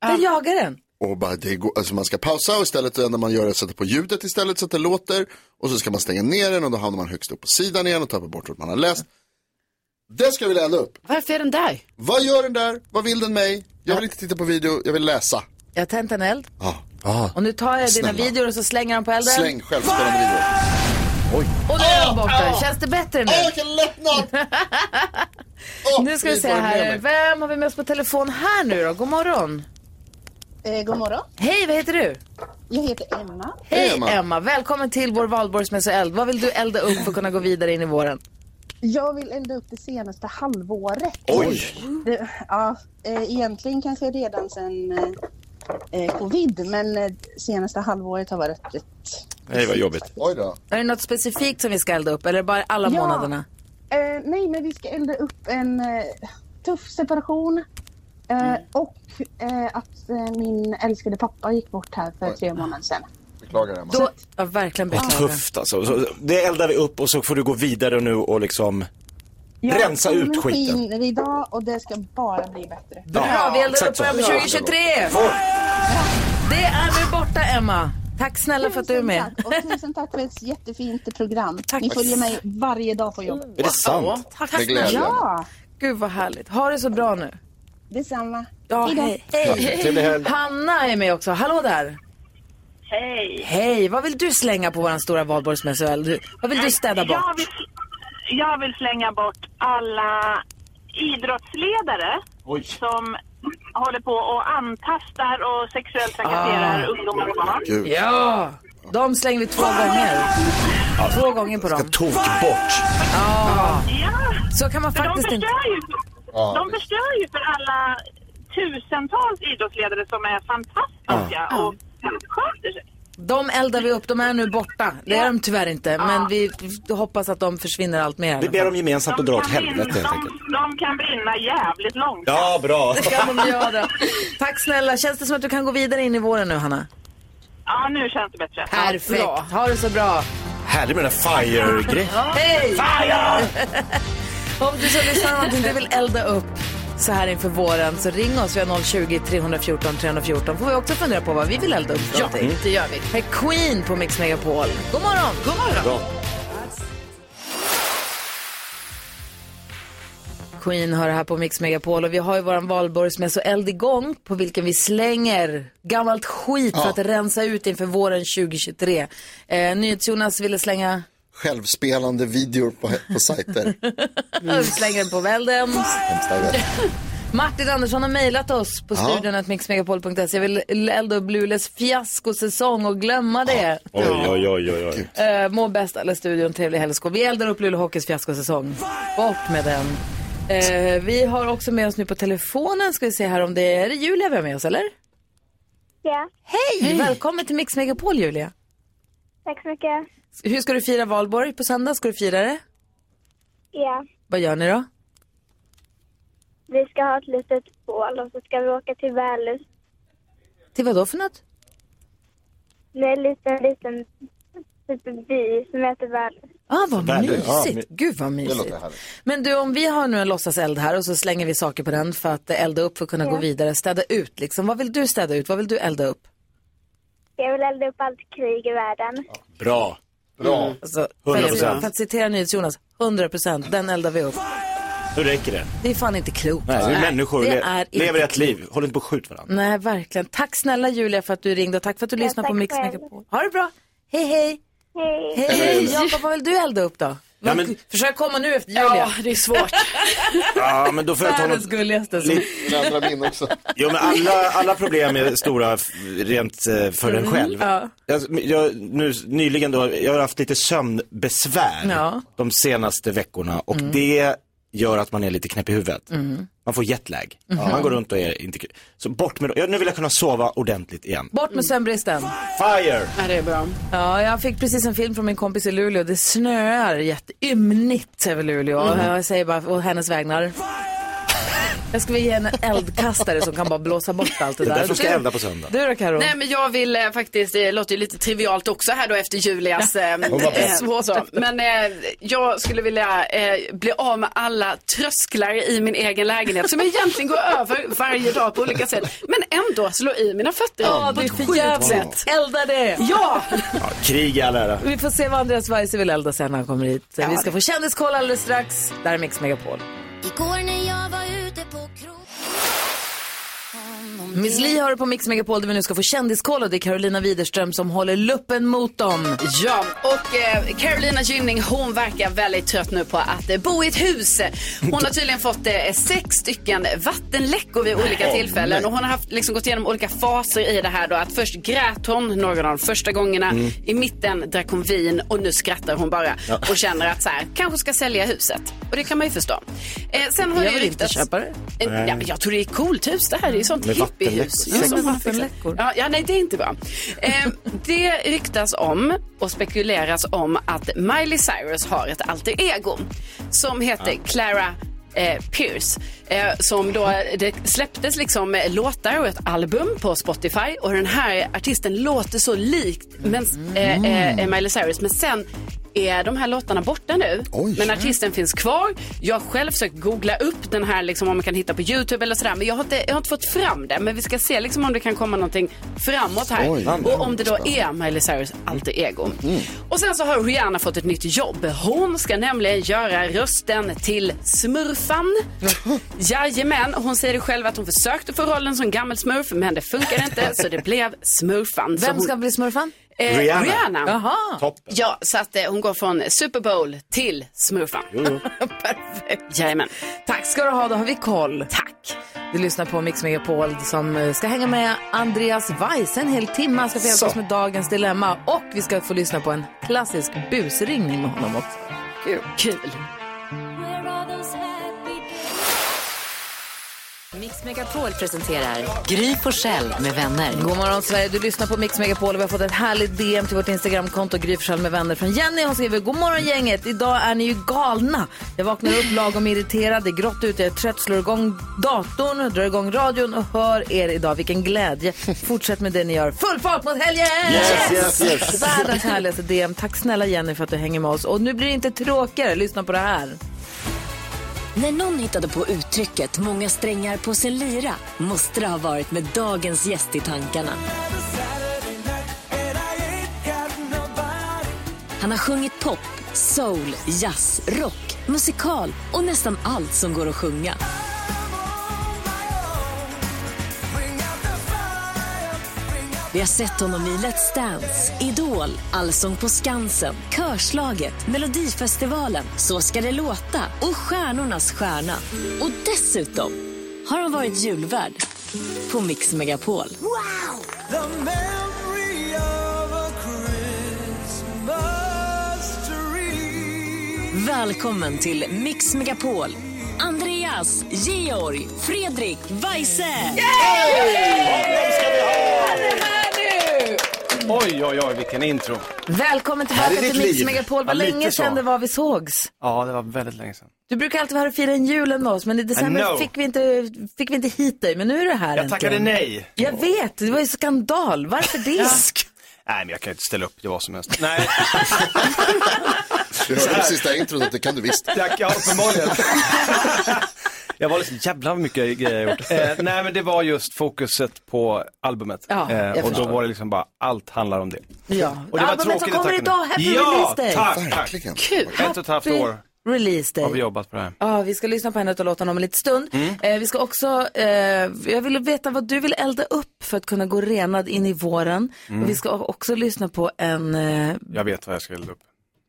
S2: Den jagar den.
S3: Och bara, det går, alltså man ska pausa och istället det enda man gör är att sätta på ljudet istället så att det låter. Och så ska man stänga ner den och då hamnar man högst upp på sidan igen och tappar bort vad man har läst. Det ska vi elda upp.
S12: Varför är den där?
S3: Vad gör den där? Vad vill den mig? Jag vill inte titta på video, jag vill läsa.
S2: Jag har tänt en eld
S3: Ja. Ah.
S2: och nu tar jag
S3: Snälla.
S2: dina videor och så slänger jag dem på elden.
S3: Släng självspelande video. Oj.
S2: Och då är de borta.
S3: Ah!
S2: Känns det bättre nu?
S3: Åh, vilken lättnad!
S2: [laughs] nu ska vi
S3: vi
S2: se
S3: får med
S2: här.
S3: mig.
S2: Vem har vi med oss på telefon här nu då? God morgon.
S15: [laughs] Eh, god morgon.
S2: Hej, vad heter du?
S15: Jag heter Emma.
S2: Hej Emma. välkommen till vår valborgsmässoeld. Vad vill du elda upp för att kunna gå vidare in i våren?
S15: Jag vill elda upp det senaste halvåret.
S2: Oj.
S15: Det, ja, eh, egentligen kanske redan sen eh, eh, covid, men eh, senaste halvåret har varit öppet.
S7: Nej, vad jobbigt.
S3: Oj då.
S2: Är det något specifikt som vi ska elda upp eller bara alla
S15: Ja.
S2: månaderna?
S15: Eh, nej, men vi ska elda upp en eh, tuff separation. Eh,
S2: Mm.
S15: Och eh, att eh, min älskade pappa gick bort här för tre månader sedan.
S3: Beklagar Emma.
S2: Då, ja, verkligen
S7: Vad
S2: beklagar.
S7: tufft alltså. Så, det eldar vi upp och så får du gå vidare nu och liksom rensa ut skiten.
S15: skiner idag och det ska bara bli bättre.
S2: Bra, vi eldar upp
S7: exakt så.
S2: början på 2023! Det är nu borta, Emma. Tack snälla för att du är med.
S15: Tack, och tusen tack för ett jättefint program.
S2: Tack.
S15: Ni följer mig varje dag på jobbet.
S2: Är det sant?
S15: Wow.
S2: Tack Med snälla. glädje.
S15: Ja,
S2: Gud vad härligt. Ha det så bra nu.
S15: detsamma.
S2: Ja,
S15: Hejdå.
S2: hej. hej. Hanna är med också. Hallå där.
S6: Hej.
S2: Hej, vad vill du slänga på våran stora valborgsmässoeld? Du- Vad vill du städa bort?
S6: Jag vill, jag vill slänga bort alla idrottsledare som håller på och antastar och sexuellt trakasserar
S2: Ah.
S6: ungdomar och barn.
S7: Gud.
S2: Ja, de slänger vi två gånger. Två gånger på dem.
S7: Tok bort.
S2: Ja,
S6: Ja,
S2: så kan man
S6: för
S2: faktiskt
S6: de
S2: inte...
S6: förstör ju,
S7: Ja,
S6: de förstör ju för alla tusentals idrottsledare som är fantastiska
S2: Ah.
S6: och sköter sig.
S2: De eldar vi upp, de är nu borta. Det är de tyvärr inte, men vi hoppas att de försvinner allt mer. i alla
S7: Vi ber
S2: fall.
S7: dem gemensamt att dra åt helvete helt
S6: De,
S7: enkelt.
S6: de kan brinna jävligt långt.
S7: Ja, bra.
S2: Det kan de göra. Tack snälla. Känns det som att du kan gå vidare in i våren nu, Hanna?
S6: Ja, nu känns det bättre.
S2: Perfekt. Ha det så bra.
S7: Härligt med den här fire-grejen.
S2: Hej! Fire! [laughs] Om du som lyssnar har någonting du vill elda upp så här inför våren så ring oss. Vi har 020 314 314. får vi också fundera på vad vi vill elda upp för
S1: Ja,
S7: Mm.
S2: någonting.
S1: det gör vi.
S2: Här är Queen på Mix Megapol. God morgon! God
S7: Bra.
S2: Queen hör här på Mix Megapol och vi har ju våran valborgsmässoeld igång på vilken vi slänger gammalt skit för
S3: Ja.
S2: att rensa ut inför våren 2023. Eh, NyhetsJonas ville slänga,
S3: Självspelande videor på, på sajter. Mm.
S2: vi [laughs] slänger den på välden.
S3: Hemskt arbete.
S2: Martin Andersson har mejlat oss på
S3: Ja.
S2: studion att mixmegapol.se. Jag vill elda upp Luleås fiaskosäsong och glömma det.
S7: Oj, oj, oj, oj, oj.
S2: Eh, må bäst alla studion, trevlig helgskål. Vi eldar upp Luleå Hockeys fiaskosäsong. Bort med den. Eh, vi har också med oss nu på telefonen, ska vi se här om det är, är det Julia vi har med oss eller?
S16: Ja,
S2: Hej! Välkommen till Mix Megapol Julia.
S16: tack så mycket.
S2: Hur ska du fira valborg på söndag? Ska du fira det?
S16: Ja,
S2: Vad gör ni då?
S16: vi ska ha ett litet bål och så ska vi åka till Vällus.
S2: Till vad då för något?
S16: Det är en liten, liten typ by som heter Vällus.
S2: Ah, vad
S16: Väl-
S2: mysigt.
S16: ja, men-
S2: Gud vad mysigt.
S16: låter härligt.
S2: Men du, om vi har nu en låtsaseld här och så slänger vi saker på den för att eh, elda upp för att kunna
S16: Ja.
S2: gå vidare, städa ut liksom. Vad vill du städa ut? Vad vill du elda upp?
S16: Jag vill elda upp allt krig i världen.
S7: Bra.
S2: Bra. Alltså, för,
S7: 100%.
S2: att, för att citera NyhetsJonas, 100 procent, den eldar vi upp.
S7: Nu räcker det.
S2: Det är fan inte klokt.
S7: Nej, vi är
S2: Nej,
S7: människor.
S2: det
S7: Le-
S2: är inte
S7: lever ett liv. Håll inte på att skjuta varandra.
S2: Nej, verkligen. Tack snälla Julia för att du ringde och tack för att du
S16: Ja,
S2: lyssnade på
S16: tack
S2: Mix
S16: själv.
S2: Megapol. Ha det bra. Hej, hej.
S16: Hej.
S2: Hej, hej. Jakob, vad vill du elda upp då?
S7: Ja, men,
S2: Försök komma nu efter Julia. Ja, det är svårt.
S7: ja, men då får jag ta
S2: Världens
S7: något...
S2: gulligaste. som-
S7: Jo, men alla, alla problem är stora f- rent eh, för en själv.
S2: Mm. Ja.
S7: Jag, jag, nu, nyligen då, jag har haft lite sömnbesvär
S2: Ja.
S7: de senaste veckorna och det gör att man är lite knäpp i
S2: [laughs]
S7: huvudet.
S2: Mm.
S7: Man får jetlag.
S2: Mhm.
S7: Man går runt och är inte kul. Så bort med ja, Nu vill jag kunna sova ordentligt igen.
S2: Bort med sömnbristen.
S7: Fire!
S1: Ja, det är bra.
S2: Ja, jag fick precis en film från min kompis i Luleå. Det snöar jätteymnigt över Luleå.
S1: Mm.
S2: Jag säger bara å hennes
S7: [laughs]
S2: vägnar. Jag ska ge henne en eldkastare som kan bara blåsa bort allt det
S7: Det
S2: där.
S7: är därför jag ska
S2: Du-
S7: elda på söndag.
S2: Du då Karo?
S1: Nej men jag vill eh, faktiskt, det låter ju lite trivialt också här då efter Julias eh,
S2: Hon var
S1: eh,
S2: bäst.
S1: så. Men eh, jag skulle vilja eh, bli av med alla trösklar i min egen lägenhet som jag egentligen går över varje dag på olika sätt. Men ändå slå i mina fötter
S2: Ja,
S1: på
S2: det är
S1: ett
S2: för
S1: sjukt
S2: jävligt.
S1: sätt.
S2: Elda det!
S1: Ja!
S7: Ja, krig i all ära.
S2: Vi får se vad Andreas Weise vill elda sen när han kommer hit. Vi ska få kändiskoll alldeles strax. Där är Mix Megapol.
S12: Igår när jag var ute på krog...
S2: Miss Li har det på Mix Megapol där vi nu ska få kändiskoll och det är Carolina Widerström som håller luppen mot dem.
S1: Ja, och eh, Carolina Gynning hon verkar väldigt trött nu på att eh, bo i ett hus. Hon har tydligen fått eh, sex stycken vattenläckor vid olika
S2: Nej.
S1: tillfällen. Och hon har haft, liksom, gått igenom olika faser i det här. Då, att först grät hon några av de första gångerna.
S2: Mm.
S1: I mitten drack hon vin och nu skrattar hon bara. Och känner att så här, kanske ska sälja huset. Och det kan man ju förstå. Eh, sen har
S2: Jag
S1: det ju
S2: vill inte
S1: ryktats-
S2: köpa det.
S1: En,
S2: Nej.
S1: ja, men jag tror det är ett coolt hus det här. Det är ju sånt
S2: Med
S1: hippiehus.
S2: vattenläckor. Ja, med vattenläckor.
S1: Ja, ja, nej, det är inte bra. Eh, det ryktas om och spekuleras om att Miley Cyrus har ett alter ego som heter
S2: Ja.
S1: Clara eh, Pierce. Eh, som då, det släpptes liksom eh, låtar och ett album på Spotify och den här artisten låter så likt men, eh, eh, eh, Miley Cyrus men sen är de här låtarna borta nu. Men artisten finns kvar. Jag har själv försökt googla upp den här, liksom, om man kan hitta på YouTube eller sådär. Men jag har, inte, jag har inte fått fram det. Men vi ska se liksom, om det kan komma någonting framåt här.
S2: Oj.
S1: och om det då är Miley Cyrus alter ego.
S2: Mm.
S1: Och sen så har Rihanna fått ett nytt jobb. Hon ska nämligen göra rösten till smurfan. Jajamän, hon säger själv att hon försökte få rollen som gammel smurf men det funkade inte så det blev smurfan. Så
S2: Vem
S1: hon...
S2: ska bli smurfan?
S1: Eh, Rihanna.
S2: Jaha.
S1: Ja, så att eh, hon går från Super Bowl till smurfan. [laughs] Perfekt. Jajamän.
S2: Tack ska du ha, då har vi koll. Tack. Du lyssnar på Mix Megapol som eh, ska hänga med Andreas Weiss en hel timme. Han ska få hjälpa
S1: Så.
S2: oss med dagens dilemma och vi ska få lyssna på en klassisk busringning med honom också.
S1: Kul. Kul.
S17: Mix Megapol presenterar Gry Forssell med vänner.
S2: God morgon Sverige, du lyssnar på Mix Megapol och vi har fått ett härligt DM till vårt Instagramkonto Gry Forssell med vänner från Jenny. Hon skriver God morgon gänget, idag är ni ju galna. Jag vaknar upp lagom irriterad, det är grått ute, jag är trött, slår igång datorn, drar igång radion och hör er idag. Vilken glädje. Fortsätt med det ni gör. Full fart [laughs] mot helgen!
S12: Yes, yes, yes.
S2: Världens härligaste DM. Tack snälla Jenny för att du hänger med oss. Och nu blir det inte tråkigare, lyssna på det här.
S17: När någon hittade på uttrycket många strängar på sin lyra måste det ha varit med dagens gäst i tankarna. Han har sjungit pop, soul, jazz, rock, musikal och nästan allt som går att sjunga. Vi har sett honom i Let's Dance, Idol, Allsång på Skansen, Körslaget, Melodifestivalen, Så ska det låta och Stjärnornas stjärna. Och dessutom har han varit julvärd på Mix Megapol.
S12: The memory of a Christmas tree.
S17: Välkommen till Mix Megapol. Andreas, Georg, Fredrik, Weise.
S18: Oj, oj, oj, vilken intro.
S2: Välkommen
S18: Här
S2: tillbaka
S18: är ditt
S2: till Mix
S18: liv.
S2: Megapol. Vad
S18: Ja, lite
S2: länge
S18: så.
S2: sedan det var vi sågs.
S18: Ja, det var väldigt länge sedan.
S2: Du brukar alltid vara här och fira en julen med oss, men i
S18: I
S2: december
S18: know.
S2: fick vi, inte, fick vi inte hit dig. Men nu är du här
S18: Jag tackade
S2: äntligen.
S18: nej.
S2: Jag vet, det var ju
S18: [laughs]
S2: skandal. Varför det?
S18: Nej, men jag kan ju inte ställa upp i vad som helst. Nej.
S3: Du hörde på sista introt att det kan du visst.
S18: Tack, ja, uppenbarligen.
S13: Jag var liksom jävla mycket grejer jag gjort.
S18: eh, nej, men det var just fokuset på albumet.
S2: Ja, jag
S18: eh, och då
S2: förstår.
S18: var det liksom bara, allt handlar om det.
S2: Ja.
S18: Och det var
S2: Albumet som
S18: tråkigt att
S2: kommer
S18: tacka
S2: idag,
S18: nej.
S2: Happy
S18: ja,
S2: Release Day.
S18: Tack, tack.
S2: Kul.
S18: Ett och ett halvt år
S2: Release
S18: har vi
S2: Day.
S18: jobbat på det här.
S2: Ja, vi ska lyssna på en av låtarna om en liten stund.
S18: Mm.
S2: Eh, vi ska också, eh, jag vill veta vad du vill elda upp för att kunna gå renad in i våren.
S18: Mm.
S2: Och vi ska också lyssna på en, eh,
S18: Jag vet vad jag ska elda upp.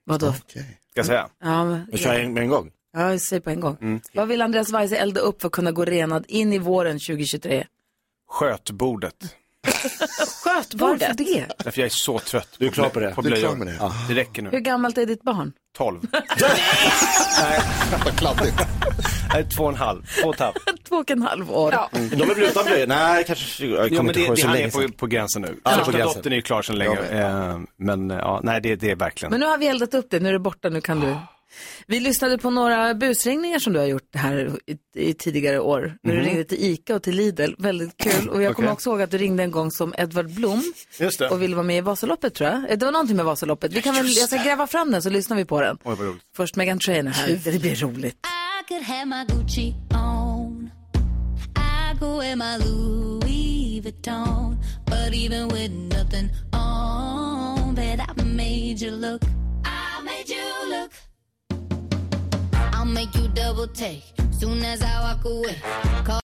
S2: Vadå?
S18: Ska jag säga?
S2: Ja, men- Vi kör en-
S18: med en gång.
S2: ja, jag säger på en gång.
S18: Mm.
S2: Vad vill Andreas Weise elda upp för att kunna gå renad in i våren
S18: [laughs]
S2: 2023?
S18: Skötbordet.
S2: Skötbordet. Varför det?
S18: Därför jag är så trött. Du är klar på det? På
S3: Du är klar
S18: blöjor.
S3: med det?
S18: Det räcker nu.
S2: Hur gammalt är ditt barn?
S18: 12. [laughs] Nej. Vad kladdigt. Nej, två och en halv. Två och ett halvt.
S2: [laughs] Två och en halv år.
S7: Mm.
S18: Mm.
S7: De är väl utan blöjor? Nej, kanske. Jag kommer
S18: Ja, men
S7: inte
S18: det,
S7: ihåg
S18: det,
S7: så
S18: han
S7: länge
S18: är på,
S7: sedan.
S18: på gränsen nu.
S7: Ja, på
S18: Första
S7: gränsen.
S18: dottern är ju klar sedan länge.
S7: Jag vet.
S18: Eh, men eh, ja, nej, det, det är verkligen.
S2: Men nu har vi eldat upp det, nu är det borta, nu kan du. Vi lyssnade på några busringningar som du har gjort här i, i tidigare år. När
S18: Mhm.
S2: du ringde till ICA och till Lidl, väldigt kul. Och jag kommer
S18: Okej.
S2: också ihåg att du ringde en gång som Edvard Blom
S18: Just det.
S2: och ville vara med i Vasaloppet tror jag. Eh, Det var någonting med Vasaloppet. Vi kan väl, jag ska gräva fram den så lyssnar vi på den.
S18: Oj, vad roligt.
S2: Först Megan Trainor här, det blir roligt.
S12: I could have my Gucci on. I go in my Louis Vuitton. But even with nothing on, bet I made you look. I made you look. I'll make you double take soon as I walk away. Call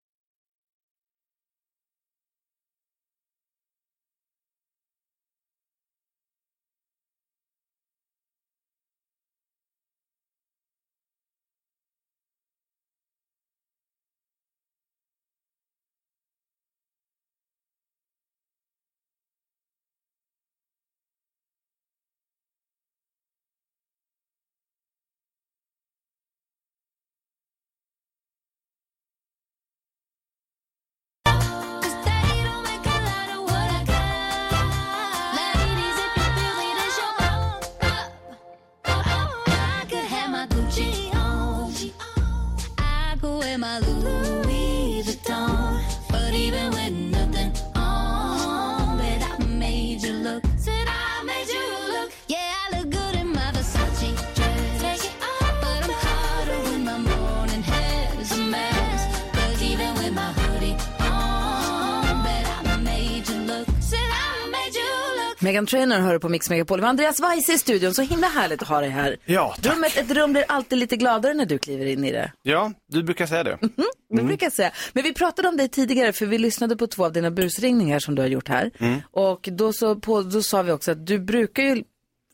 S12: Uh, wear my Louis Vuitton. But even with nothing on, bet I made you look. Said I made you look. Yeah, I look good in my Versace dress. Take it off, but I'm hotter when my morning hair's a mess. 'Cause even with my hoodie on, bet I made you look. Said I made you look.
S2: Megan Trainor hör du på Mix Megapol. Vi har Andreas Weise i studion, så himla härligt att ha dig här.
S13: Ja,
S2: Rummet, ett rum blir alltid lite gladare när du kliver in i det.
S13: Ja, du brukar säga det.
S18: Mhm.
S2: Det
S13: Mm.
S2: brukar jag säga. Men vi pratade om dig tidigare för vi lyssnade på två av dina busringningar som du har gjort här.
S13: Mm.
S2: Och då, så på, då sa vi också att du brukar ju,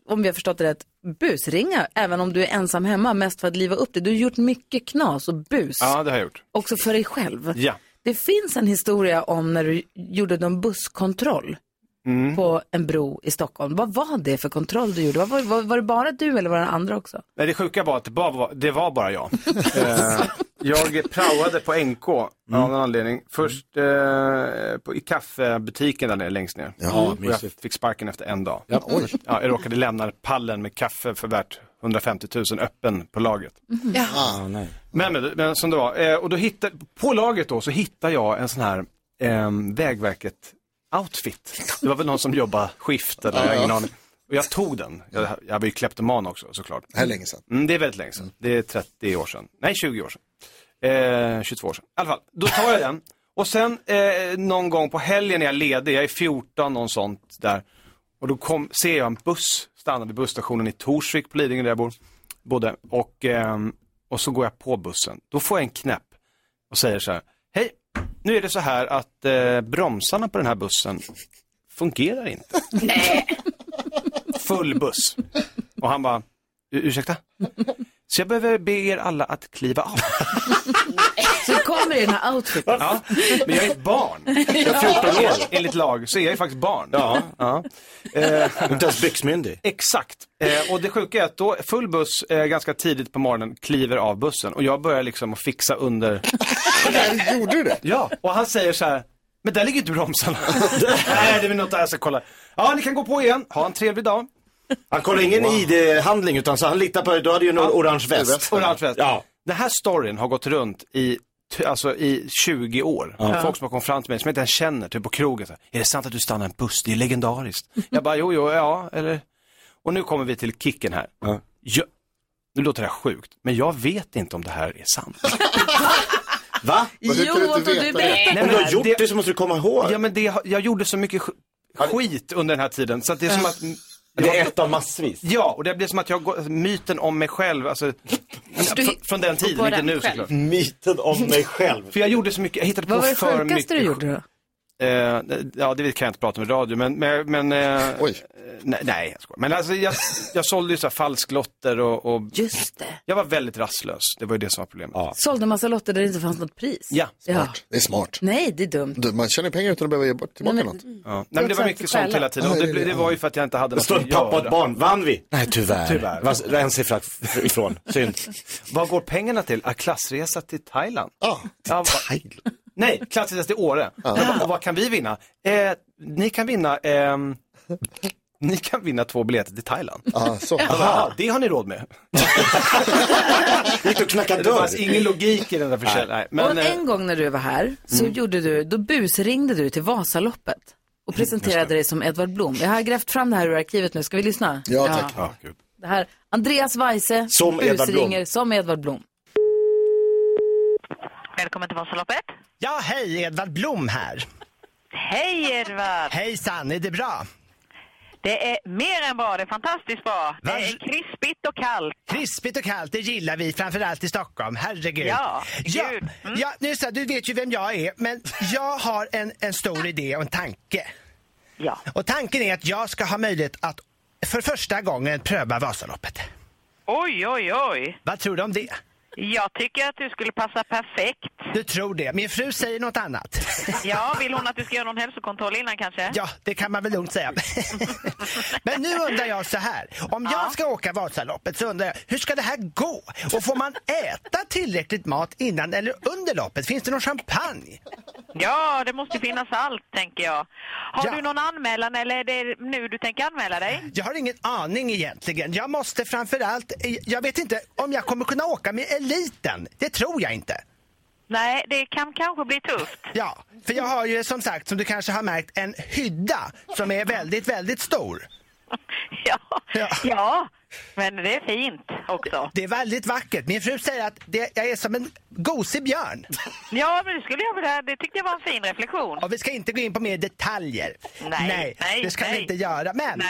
S2: om vi har förstått det rätt, busringa även om du är ensam hemma, mest för att liva upp det. Du har gjort mycket knas och bus,
S13: Ja, det har jag gjort.
S2: också för dig själv.
S13: Ja.
S2: Det finns en historia om när du gjorde någon busskontroll
S13: Mm.
S2: på en bro i Stockholm. Vad var det för kontroll du gjorde? Vad Var, var, var det bara du eller var det andra också?
S13: Nej, det sjuka var att det, bara var, det var
S18: [laughs]
S13: bara jag. eh, jag praoade på NK
S7: Mm.
S13: av någon anledning. Först eh, på, i kaffebutiken där nere längst ner.
S7: Ja,
S13: och jag
S7: mysigt.
S13: fick sparken efter en dag.
S7: Ja, oj.
S13: Ja, jag råkade lämna pallen med kaffe för värt 150 000 öppen på lagret.
S2: Mm.
S7: Ah, nej.
S13: Men, men, men som det var. Eh, och då hittade, på laget då så hittade jag en sån här eh, Vägverket outfit. Det var väl någon som jobbade skift eller jag har ingen
S7: Ja.
S13: aning. Och jag tog den. Jag, jag var ju kleptoman också såklart.
S3: Det här är länge sedan.
S13: Mm, det är väldigt länge sedan. Det är 30 år sedan. Nej, 20 år sedan. Eh, 22 år sedan. I alla fall, då tar jag den. Och sen eh, någon gång på helgen när jag är ledig, jag är 14, någon sånt där. Och då kom, ser jag en buss stanna vid busstationen i Torsvik på Lidingö där jag bor. Bodde. Och, ehm, och så går jag på bussen. Då får jag en knäpp och säger så här. Hej, nu är det så här att eh, bromsarna på den här bussen fungerar inte. Full buss. Och han bara, "U- ursäkta? Så jag behöver be er alla att kliva av.
S2: Så du kommer i den här outfiten.
S13: Ja, men jag är ett barn. Jag är 14 år. Enligt lag så är jag ju faktiskt barn. Ja.
S7: Inte ens byxmyndig.
S13: Exakt.
S18: [laughs]
S13: Eh, och det sjuka är att då full buss eh, ganska tidigt på morgonen kliver av bussen och jag börjar liksom att fixa under.
S3: Gjorde du det?
S13: Ja, och han säger så här. Men där ligger ju inte bromsarna. Nej, det är väl något där jag ska kolla. Ja, ni kan gå på igen. Ha en trevlig dag.
S7: Han kollar ingen ID-handling utan så han litar på, du hade ju en orange väst.
S13: Orange väst. Den här storyn har gått runt i, t- alltså, i 20 år.
S7: Ja.
S13: Folk som har kommit fram till mig som jag inte ens känner, typ på krogen. Så här, är det sant att du stannar en buss? Det
S7: [laughs]
S13: är legendariskt. jag bara, jo, jo, ja, eller... Och nu kommer vi till kicken här. Jag... Nu låter det här sjukt, men jag vet inte om det här är [laughs] sant.
S7: Va?
S13: Vad, hur kan du inte veta det? Nej,
S7: Om
S13: men
S7: du har gjort
S13: det-
S7: det, så måste du komma ihåg.
S13: Ja, men det, jag gjorde så mycket sk- skit under den här tiden så att det är som att...
S7: Det är ett av massvis.
S13: Ja, och det blir som att jag går, myten om mig själv, alltså fr- från den tiden,
S7: på
S13: inte
S7: den
S13: nu
S7: själv.
S13: såklart.
S7: Myten om mig själv.
S13: För jag gjorde så mycket, jag hittade
S2: Vad
S13: på
S2: var det
S13: för
S2: sjukaste
S13: mycket.
S2: du gjorde då?
S13: Eh, ja, det kan jag inte prata om i radio, men... men, men eh,
S3: Oj.
S13: Nej, nej, jag skojar. Men alltså, jag, jag sålde ju så här falsklotter och, och...
S2: Just det.
S13: Jag var väldigt rastlös, det var ju det som var problemet. Ja,
S2: Sålde en massa lotter där det inte fanns något pris.
S13: ja.
S2: Ja.
S3: Det är smart.
S2: Nej, det är dumt.
S3: Du, man tjänar pengar utan att behöva ge bort tillbaka
S2: Nej, men- Mm.
S3: något.
S13: Nej, men det var
S2: Trots
S13: mycket
S2: allt
S13: sånt
S2: skälla.
S13: hela tiden. Och
S3: Ja,
S13: det,
S3: det-
S13: blev- det var ju för att jag inte
S7: Det
S13: hade något
S7: står
S13: att
S7: pappa och ett
S13: göra.
S7: barn. Vann vi?
S13: Nej, tyvärr.
S7: Tyvärr. Vad- det är En siffra f- ifrån. Synd.
S13: Vad går pengarna till? Ah, klassresa till Thailand.
S7: Ah,
S13: Ja, va- Nej, klassresa till Åre. Ja. Och vad kan vi vinna? Eh, ni kan vinna ehm, ni kan vinna två biljetter till Thailand.
S3: Ja, så.
S13: Jag bara, "Ah, det har ni råd med.
S7: Gick och knackade
S13: Det fanns
S7: dörr.
S13: ingen logik i den där försäljningen. Nej, Men,
S2: och
S13: eh,
S2: en gång när du var här så gjorde du, då busringde du till Vasaloppet och presenterade dig som Edvard Blom. Jag har grävt fram det här ur arkivet nu, ska vi lyssna?
S3: Ja, tack.
S2: Det här, Andreas Weise
S7: Som Edvard Blom.
S2: busringer som Edvard Blom.
S18: Välkommen till Vasaloppet.
S13: Ja, hej, Edvard Blom här.
S18: Hej Edvard!
S13: Hejsan, är det bra?
S18: Det är mer än bra, det är fantastiskt bra. Det är krispigt och kallt.
S13: Krispigt och kallt, det gillar vi framförallt i Stockholm. Herregud.
S18: Ja,
S13: ja,
S18: gud. Mm.
S13: ja, nu så, du vet ju vem jag är, men jag har en, en stor idé och en tanke.
S18: Ja.
S13: Och tanken är att jag ska ha möjlighet att för första gången pröva Vasaloppet.
S18: Oj, oj, oj.
S13: Vad tror du om det?
S18: Jag tycker att du skulle passa perfekt.
S13: Du tror det. Min fru säger något annat.
S18: Ja, vill hon att du ska göra någon hälsokontroll innan kanske?
S13: Ja, det kan man väl lugnt säga. [laughs] Men nu undrar jag så här. Om jag ska åka Vasaloppet så undrar jag, hur ska det här gå? Och får man äta tillräckligt mat innan eller under loppet? Finns det någon champagne?
S18: Ja, det måste finnas allt, tänker jag. Har
S13: Ja.
S18: du någon anmälan eller är det nu du tänker anmäla dig?
S13: Jag har ingen aning egentligen. Jag måste framförallt... Jag vet inte om jag kommer kunna åka med eliten. Det tror jag inte.
S6: Nej, det kan kanske bli tufft.
S18: Ja, för jag har ju som sagt, som du kanske har märkt, en hydda som är väldigt, väldigt
S6: [laughs]
S18: stor. Ja,
S6: ja. men det är fint också.
S18: Det är väldigt vackert. Min fru säger att det, jag är som en gosig björn.
S6: Ja, men det skulle jag vilja, det tyckte jag var en fin reflektion.
S18: Och vi ska inte gå in på mer detaljer.
S6: Nej, nej,
S18: det ska vi
S6: nej.
S18: inte göra. Men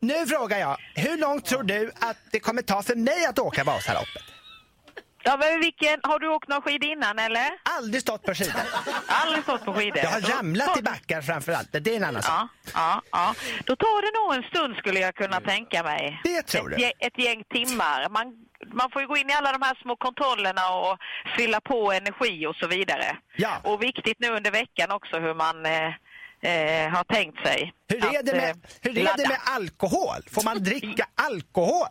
S18: nu frågar jag, hur långt tror du att det kommer ta för mig att åka Vasaloppet?
S6: Ja, men vilken, har du åkt någon skid innan eller?
S18: Aldrig stått på skidor.
S6: Aldrig stått på skidor.
S18: Jag har ramlat i backar framför allt, men det är en annan sak.
S6: Ja, ja. Då tar det nog en stund skulle jag kunna tänka mig.
S18: Det tror
S6: ett,
S18: du.
S6: gäng- ett gäng timmar. Man, man får ju gå in i alla de här små kontrollerna och fylla på energi och så vidare.
S18: Ja.
S6: Och viktigt nu under veckan också hur man eh, eh, har tänkt sig.
S18: Hur är
S6: att,
S18: det
S6: eh,
S18: med, hur är det
S6: ladda.
S18: med alkohol? Får man dricka alkohol?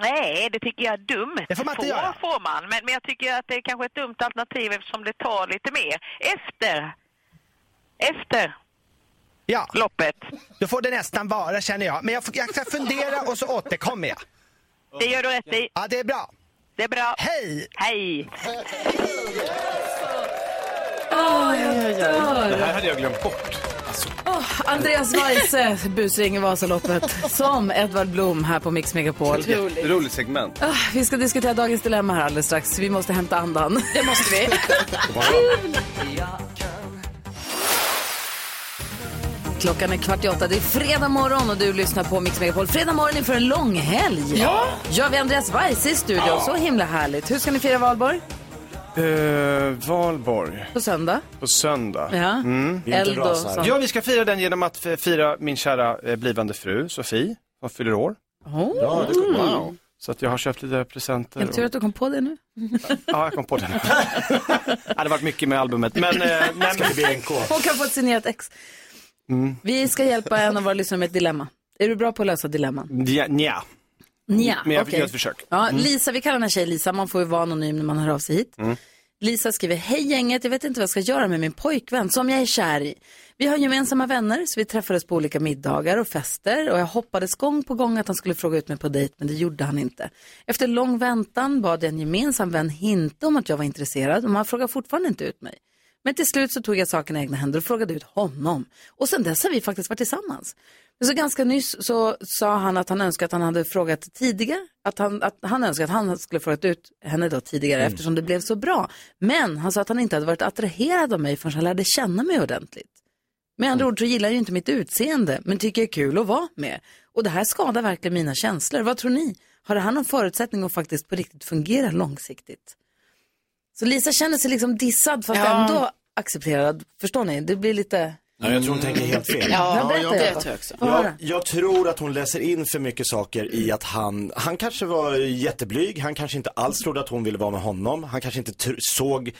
S6: Nej, det tycker jag är dumt.
S18: Det får man inte
S6: Får
S18: göra.
S6: får man, men, men jag tycker att det är kanske ett dumt alternativ eftersom det tar lite mer. Efter. Efter.
S18: Ja.
S6: Loppet.
S18: Då får det nästan vara känner jag. Men jag, får- jag ska fundera och så återkommer jag.
S6: Det gör du rätt i.
S18: Ja, det är bra.
S6: Det är bra.
S18: Hej!
S6: Hej!
S2: Åh, jag
S13: Det här
S2: dör!
S13: hade jag glömt bort. Alltså,
S2: Åh, Andreas Weise busringer Vasaloppet som Edvard Blom här på Mix Megapol.
S13: Roligt segment.
S2: Ah, vi ska diskutera dagens dilemma här alldeles strax. Vi måste hämta andan. Det måste vi. Klockan är kvart i åtta. Det är fredag morgon och du lyssnar på Mix Megapol. Fredag morgon inför en lång helg.
S17: Ja.
S2: Gör vi Andreas Weise i studion.
S13: Ja.
S2: Så himla härligt. Hur ska ni fira valborg?
S13: Eh, Valborg.
S2: På söndag.
S13: På söndag.
S2: Ja.
S13: Mm.
S2: Eld och sånt.
S13: Ja, vi ska fira den genom att f- fira min kära eh, blivande fru Sofie som fyller år.
S2: Oh.
S13: Ja, det wow. Så att jag har köpt lite presenter.
S2: Jag
S13: och-
S2: tur att du kom på det
S13: [laughs]
S2: nu.
S13: Ja, jag kom
S2: [laughs]
S13: på den. det hade varit mycket med albumet. Men, eh, nej,
S2: Ska
S13: bli NK?
S2: Hon kan få ett signerat ex.
S13: Mm.
S2: Vi ska hjälpa en av våra lyssnare med ett dilemma. Är du bra på att lösa dilemman?
S13: Nja, nja.
S2: Nja,
S13: Men jag
S2: okej.
S13: gör ett försök.
S2: Ja,
S13: Mm.
S2: Lisa, vi kallar den här tjejen Lisa. Man får ju vara anonym när man hör av sig hit.
S13: Mm.
S2: Lisa skriver, hej gänget, jag vet inte vad jag ska göra med min pojkvän som jag är kär i. Vi har gemensamma vänner så vi träffades på olika middagar och fester och jag hoppades gång på gång att han skulle fråga ut mig på dejt men det gjorde han inte. Efter lång väntan bad jag en gemensam vän hinta om att jag var intresserad men han frågade fortfarande inte ut mig. Men till slut så tog jag saken i egna händer och frågade ut honom. Och sen dess har vi faktiskt varit tillsammans. Men så ganska nyss så sa han att han önskade att han hade frågat tidigare. Att han, att han önskade att han skulle frågat ut henne då tidigare
S17: Mm.
S2: eftersom det blev så bra. Men han sa att han inte hade varit attraherad av mig förrän han lärde känna mig ordentligt. Med andra ord så gillar jag ju inte mitt utseende men tycker jag är kul att vara med. Och det här skadar verkligen mina känslor. Vad tror ni? Har det här någon förutsättning att faktiskt på riktigt fungera långsiktigt? Så Lisa känner sig liksom dissad fast
S1: Ja.
S2: ändå accepterad. Förstår ni? Det blir lite...
S7: Nej, jag tror hon tänker helt fel.
S2: Ja, Ja, berätta, jag- Eva.
S7: jag,
S2: Få höra.
S7: tror att hon läser in för mycket saker i att han, han kanske var jätteblyg, han kanske inte alls trodde att hon ville vara med honom, han kanske inte tr- såg,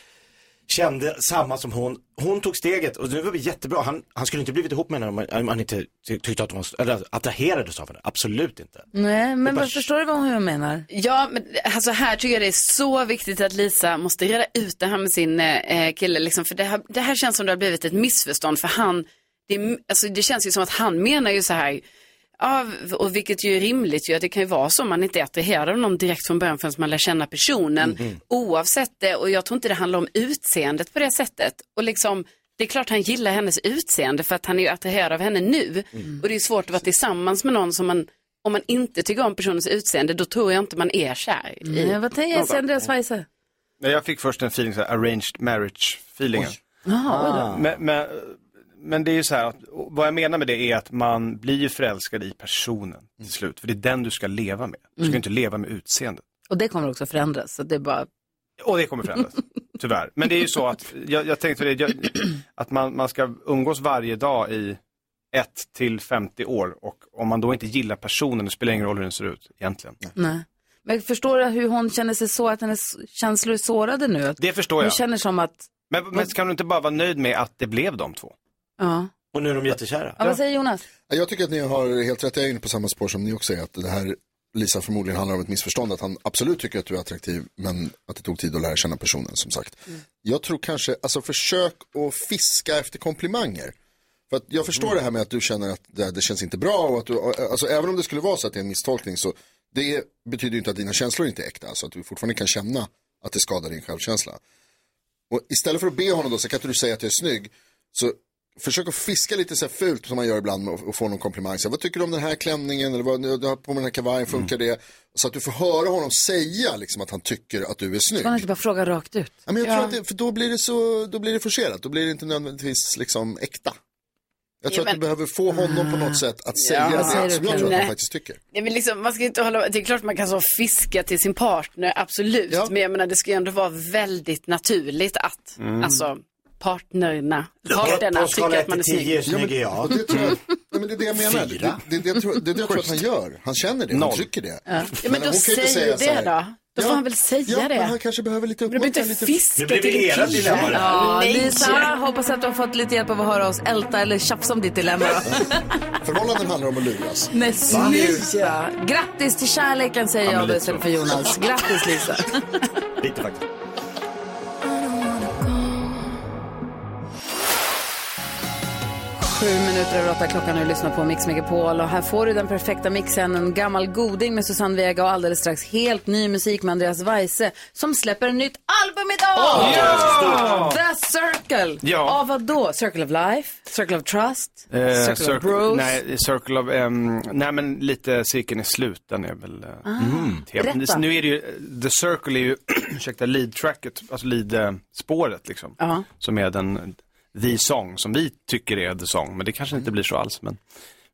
S7: kände samma som hon. Hon tog steget och det var jättebra, han, han skulle inte blivit ihop med henne om han- om han inte ty- tyckte att hon, eller attraherades av henne, absolut inte.
S2: Nej, men
S7: bara-
S2: vad förstår du vad hon menar?
S1: Ja, men alltså här tycker jag det är så viktigt att Lisa måste reda ut det här med sin eh, kille. Liksom, för det här, det här känns som det har blivit ett missförstånd för han, det, alltså, det känns ju som att han menar ju så här, ja, och vilket ju är rimligt ju, att det kan ju vara så, man inte är attraherad av någon direkt från början förrän man lär känna personen.
S17: Mhm.
S1: Oavsett det, och jag tror inte det handlar om utseendet på det sättet. Och liksom, det är klart han gillar hennes utseende för att han är ju attraherad av henne nu. Och det är svårt att vara tillsammans med någon som man, om man inte tycker om personens utseende, då tror jag inte man är kär i.
S2: Nej, vad tänker jag säga, Andreas Weise?
S13: Nej, jag fick först en feeling, så här, arranged marriage-feelingen.
S2: Jaha, oj då.
S13: Men, men, men det är ju så här, att, och vad jag menar med det är att man blir ju förälskad i personen
S7: Mm.
S13: till slut. För det är den du ska leva med. Du ska ju
S2: Mm.
S13: inte leva med utseendet.
S2: Och det kommer också förändras. Så det är bara...
S13: Och det
S7: [laughs]
S13: kommer förändras, tyvärr. Men det är ju så att, jag, jag tänkte på det, jag, att man, man ska umgås varje dag i 1 till 50 år och om man då inte gillar personen, det spelar ingen roll hur den ser ut egentligen.
S2: Nej. [laughs] Men förstår du hur hon känner sig så, att hennes känslor är sårade nu? Att
S13: Det förstår
S2: hon
S13: jag.
S2: känner som att,
S13: Men, men kan du inte bara vara nöjd med att det blev de två?
S2: ja.
S7: Och nu är de jättekära.
S2: ja vad säger Jonas?
S3: Jag tycker att ni har helt rätt, jag är inne på samma spår som ni också är, att det här Lisa förmodligen handlar om ett missförstånd, att han absolut tycker att du är attraktiv, men att det tog tid att lära känna personen som sagt.
S2: Mm.
S3: Jag tror kanske, alltså försök att fiska efter komplimanger. För att jag förstår det här med att du känner att det, det känns inte bra och att du, alltså även om det skulle vara så att det är en misstolkning så det betyder ju inte att dina känslor inte är äkta, alltså att du fortfarande kan känna att det skadar din självkänsla. Och istället för att be honom då, så kan inte du säga att jag är snygg. Så försök att fiska lite så här fult som man gör ibland och, och få någon komplimang. Så här, vad tycker du om den här klänningen? Eller vad, du har på mig den här kavajen, funkar det? Så att du får höra honom säga liksom, att han tycker att du är snygg.
S2: Ska man inte bara fråga rakt ut?
S3: Ja, men jag tror att det, för då blir det så, då blir det forcerat, då blir det inte nödvändigtvis liksom äkta. Jag tror
S1: Ja, men- Mm.
S3: att du behöver få honom på något sätt att säga
S1: Ja. Vad säger
S3: det
S1: du,
S3: som jag tror att
S1: Kalle?
S3: han faktiskt tycker.
S1: Nej, men liksom, man ska inte hålla, det är klart man kan så fiska till sin partner, absolut. Men jag menar, det ska ju ändå vara väldigt naturligt att
S3: Mm.
S1: alltså, partnerna,
S3: på
S1: parterna
S3: skala
S1: tycker att man är
S3: 1 till 10
S1: snygg.
S3: är snygg är jag. Ja, Mm. men- och det tror jag- Nej, men det är det jag menar.
S7: Fyra.
S3: Det, det, det, jag tror- det är det jag tror att han gör. Han känner det, han
S7: Noll.
S3: tycker det.
S1: Ja, ja men då
S3: hon kan ju
S1: säg
S3: inte
S1: det
S3: så här,
S1: då. Då får han väl säga det.
S3: ja, Men han kanske behöver lite
S1: Men det blir
S3: uppmuntran.
S1: inte
S3: lite-
S1: fiska
S7: Det blir
S1: till
S7: era
S1: en
S7: dilemma
S1: kille.
S7: det här.
S2: Ja,
S1: Nej.
S2: Lisa, hoppas att du har fått lite hjälp av att höra oss älta eller tjafsa om ditt dilemma.
S3: [laughs] Förhållanden handlar om att luras.
S2: Nej, sluta! Grattis till kärleken säger
S3: Ja, men
S2: jag då
S3: lite
S2: istället
S3: så.
S2: för Jonas. Grattis Lisa.
S7: Lite faktiskt.
S2: Sju minuter över åtta klockan och du lyssnar på Mix Megapol. Och här får du den perfekta mixen. En gammal goding med Susanne Vega och alldeles strax helt ny musik med Andreas Weise som släpper ett nytt album idag!
S18: Åh, ja!
S2: The Circle!
S18: Ja.
S2: Av vad då? Circle of Life? Circle of Trust?
S13: Eh,
S2: circle of Bros?
S13: Nej, circle of, ehm, nej men lite cirkeln är slut, den är väl eh,
S2: Ah,
S13: temat.
S2: berätta.
S13: Nu är det ju, eh, the circle är ju, [clears throat] ursäkta, lead tracket, alltså lead eh, spåret liksom.
S2: Ja.
S13: Som är den, the song, som vi tycker är the song, men det kanske
S2: Mm.
S13: inte blir så alls. Men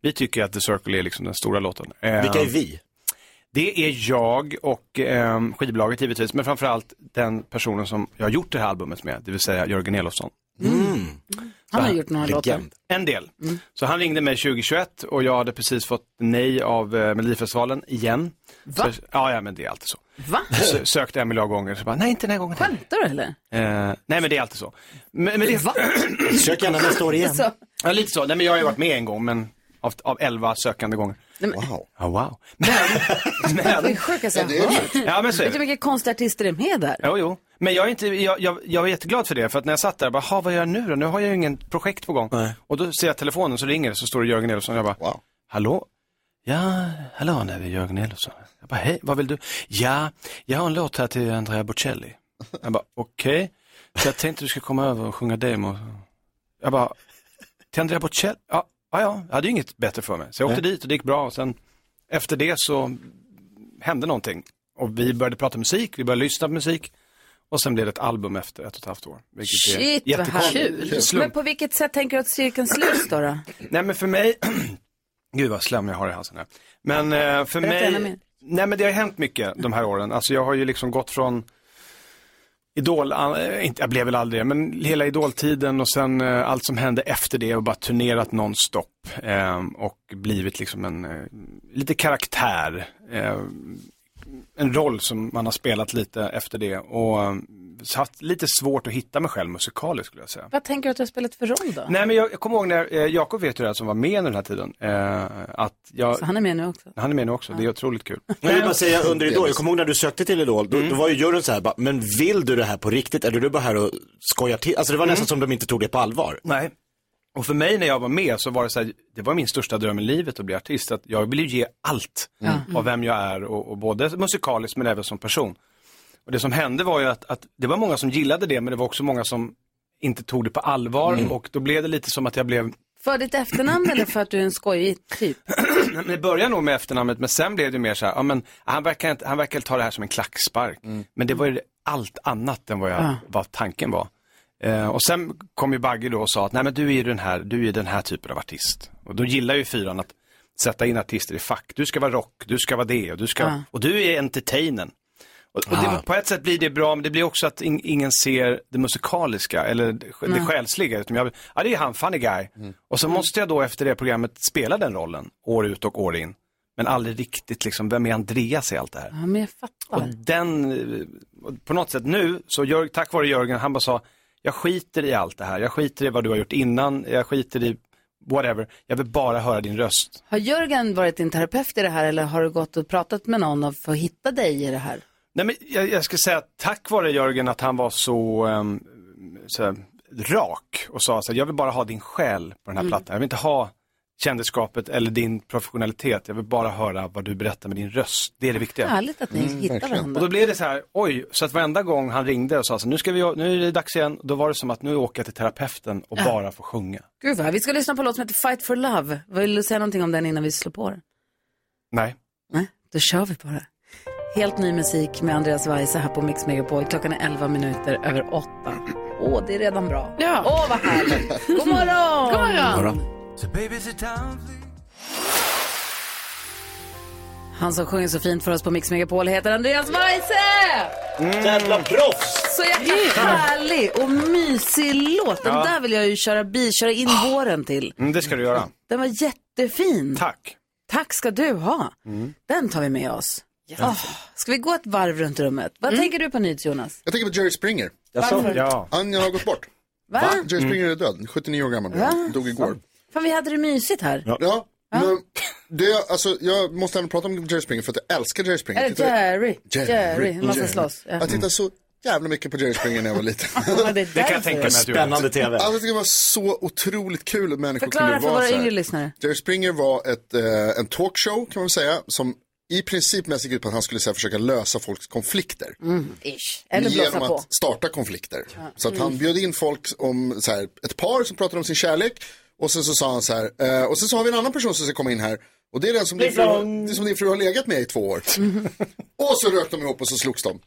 S13: vi tycker att the circle är liksom den stora låten. Eh,
S7: Vilka är vi?
S13: Det är jag och eh, skivbolaget givetvis, men framförallt den personen som jag har gjort det här albumet med, det vill säga Jörgen Elofsson.
S2: Han har
S13: Va?
S2: gjort några låtar. Mm.
S13: Legend. En del. Så han ringde mig 2021 och jag hade precis fått nej av eh, Melodifestivalen igen.
S2: Va?
S13: Så, ja, ja, men det är alltid så.
S2: Va?
S13: Så, sökte en miljard gånger, så bara, nej inte den här gången.
S2: Skämtar du eller?
S13: Eh, nej men det är alltid så. Men, men det...
S2: Va?
S7: Sök gärna nästa år
S2: [laughs]
S7: igen.
S2: Så.
S13: [laughs] Ja, lite så. Nej men jag har ju varit med en gång, men av, av elva sökande gånger.
S2: Wow.
S13: Ja, wow. Men, men...
S2: Det är sjukaste jag har hört.
S13: Ja, men så är
S2: Vet du hur
S13: det.
S2: mycket konstiga artister det är med där?
S13: Jo, jo. Men jag, är inte, jag, jag, jag var jätteglad för det, för att när jag satt där, bara, "Ha, vad gör jag nu då? Nu har jag ju ingen projekt på gång. Och då ser jag telefonen, så ringer det, så står det Jörgen Elofsson, jag bara, hallå? Ja, hallå, det är Jörgen Elofsson. Jag bara, hej, vad vill du? Ja, jag har en låt här till Andrea Bocelli. Jag bara, okej. Så jag tänkte du skulle komma över och sjunga demo. Jag bara, till Andrea Bocelli? Ja, ja, ja. jag hade ju inget bättre för mig. Så jag åkte dit och det gick bra. Och sen efter det så hände någonting. Och vi började prata musik, vi började lyssna på musik. Och sen blev det ett album efter ett och ett halvt år. vilket är
S2: Shit vad
S13: jättekonstigt.
S2: härligt. Men
S13: Slump.
S2: på vilket sätt tänker du att cirkeln sluts
S13: [clears throat]
S2: då? då?
S13: Nej men för mig, [clears throat] gud vad slem jag har i halsen här. Men eh, för
S2: Berätta gärna mer.
S13: mig, nej men det har hänt mycket de här åren. Alltså jag har ju liksom gått från Idol, eh, inte, jag blev väl aldrig det, men hela idoltiden och sen eh, allt som hände efter det och bara turnerat nonstop eh, och blivit liksom en, eh, lite karaktär. Eh, en roll som man har spelat lite efter det och eh, haft lite svårt att hitta mig själv musikaliskt skulle jag säga.
S2: Vad tänker du att du har spelat för roll då?
S13: Nej men jag, jag kommer ihåg när, eh, Jakob vet ju det här som var med under den här tiden. Eh, att jag,
S2: Så han är med nu också.
S13: han är med nu också, det är otroligt kul.
S7: Jag vill bara säga under Idol, jag
S13: Delvis.
S7: kommer ihåg när du sökte till Idol, då, då var ju juryn så här, bara, men vill du det här på riktigt? Eller är du bara här och skojar till? Alltså det var
S2: Mm.
S7: nästan som de inte tog det på allvar.
S13: Nej. Och för mig när jag var med så var det så här, det var min största dröm i livet att bli artist. Att jag vill ju ge allt
S2: Mm.
S13: av vem jag är, och, och både musikaliskt men även som person. Och det som hände var ju att, att det var många som gillade det, men det var också många som inte tog det på allvar
S7: Mm.
S13: och då blev det lite som att jag blev
S2: För ditt efternamn eller för att du är en skojig typ?
S13: Nej, men det började nog med efternamnet, men sen blev det mer så här, ja, men, han verkar, inte- han verkar ta det här som en klackspark. Men det var ju allt annat än vad, jag,
S2: Ja.
S13: vad tanken var. Eh, och sen kom ju Bagge då och sa att, nej men du är ju den här, du är den här typen av artist. Och då gillar ju fyran att sätta in artister i fack. Du ska vara rock, du ska vara det och du, ska,
S2: Ja.
S13: och du är entertainen. Och, och
S7: Ah.
S13: det, på ett sätt blir det bra, men det blir också att in, ingen ser det musikaliska eller det, det
S7: Nej.
S2: Mm.
S13: själsliga. Utan jag, ja, det är han, funny guy. Och så måste jag då efter det programmet spela den rollen, år ut och år in. Men aldrig riktigt liksom, vem är Andreas i allt det här?
S2: Ja, men jag fattar.
S13: Och den, eh, och på något sätt nu, så Jörg, tack vare Jörgen, han bara sa, jag skiter i allt det här, jag skiter i vad du har gjort innan, jag skiter i whatever, jag vill bara höra din röst.
S2: Har Jörgen varit din terapeut i det här eller har du gått och pratat med någon och för att hitta dig i det här?
S13: Nej, men jag, jag ska säga att tack vare Jörgen att han var så, ehm, så här, rak och sa så här, jag vill bara ha din själ på den här
S2: Mm.
S13: plattan. Jag vill inte ha kändisskapet eller din professionalitet. Jag vill bara höra vad du berättar med din röst. Det är det viktiga.
S2: Härligt att ni
S7: Mm,
S2: hittar varandra.
S13: Och då blev det så här, oj, så att varenda gång han ringde och sa så här, nu, ska vi, nu är det dags igen, då var det som att nu åker jag till terapeuten och
S2: Ja.
S13: bara får sjunga.
S2: Gud vad, vi ska lyssna på en låt som heter Fight for Love. Vill du säga någonting om den innan vi slår på den?
S13: Nej.
S2: Nej, då kör vi bara. Helt ny musik med Andreas Weise här på Mix Megapol. Klockan är 11 minuter över 8. Åh, det är redan bra.
S1: Ja.
S2: Åh, vad härligt. God morgon!
S1: God morgon!
S2: Han som sjunger så fint för oss på Mix Megapol heter Andreas Weise!
S6: Mm.
S7: Jävla proffs!
S2: Så jäkla härlig och mysig låt. Den
S13: Ja.
S2: där vill jag ju köra, bi, köra in våren till.
S13: Mm, det ska du göra.
S2: Den var jättefin.
S13: Tack. Mm.
S2: Tack ska du ha. Den tar vi med oss. Oh, ska vi gå ett varv runt rummet? Vad
S13: Mm.
S2: tänker du på nytt Jonas?
S3: Jag tänker på Jerry Springer.
S2: Jaså? Varför?
S13: Ja.
S3: Han har gått bort.
S2: Va? Mm.
S3: Jerry Springer är död, 79 år gammal blev han.
S2: Va?
S3: dog igår.
S2: Fan, vi hade det mysigt här.
S3: Ja. Men det, alltså, jag måste även prata om Jerry Springer för att jag älskar Jerry Springer.
S2: Eller
S3: Tittade-
S2: Jerry. Jerry. Hur man ska
S3: Jerry.
S2: slåss. Ja.
S3: Jag tittade så jävla mycket på Jerry Springer när jag var liten.
S2: [laughs] Ja, det är Det kan jag därför. tänka mig att du gjorde. Spännande TV.
S3: Alltså, jag tycker det var så otroligt kul att människor
S2: Förklara
S3: kunde
S2: för
S3: vara
S2: våra
S3: så här.
S2: yngre lyssnare.
S3: Jerry Springer var ett, eh, en talkshow kan man väl säga som i princip mest gick ut på att han skulle så här, försöka lösa folks konflikter.
S2: Mm, ish. Eller blåsa
S3: genom
S2: på.
S3: att starta konflikter. Så att han
S2: Mm.
S3: bjöd in folk om så här, ett par som pratade om sin kärlek och sen så sa han så här, eh, och sen så har vi en annan person som ska komma in här och det är den som din, fru,
S2: Pling-plong.
S3: det är som din fru har legat med i två år.
S2: Mm.
S3: [laughs] och så rök de ihop och så slogs de.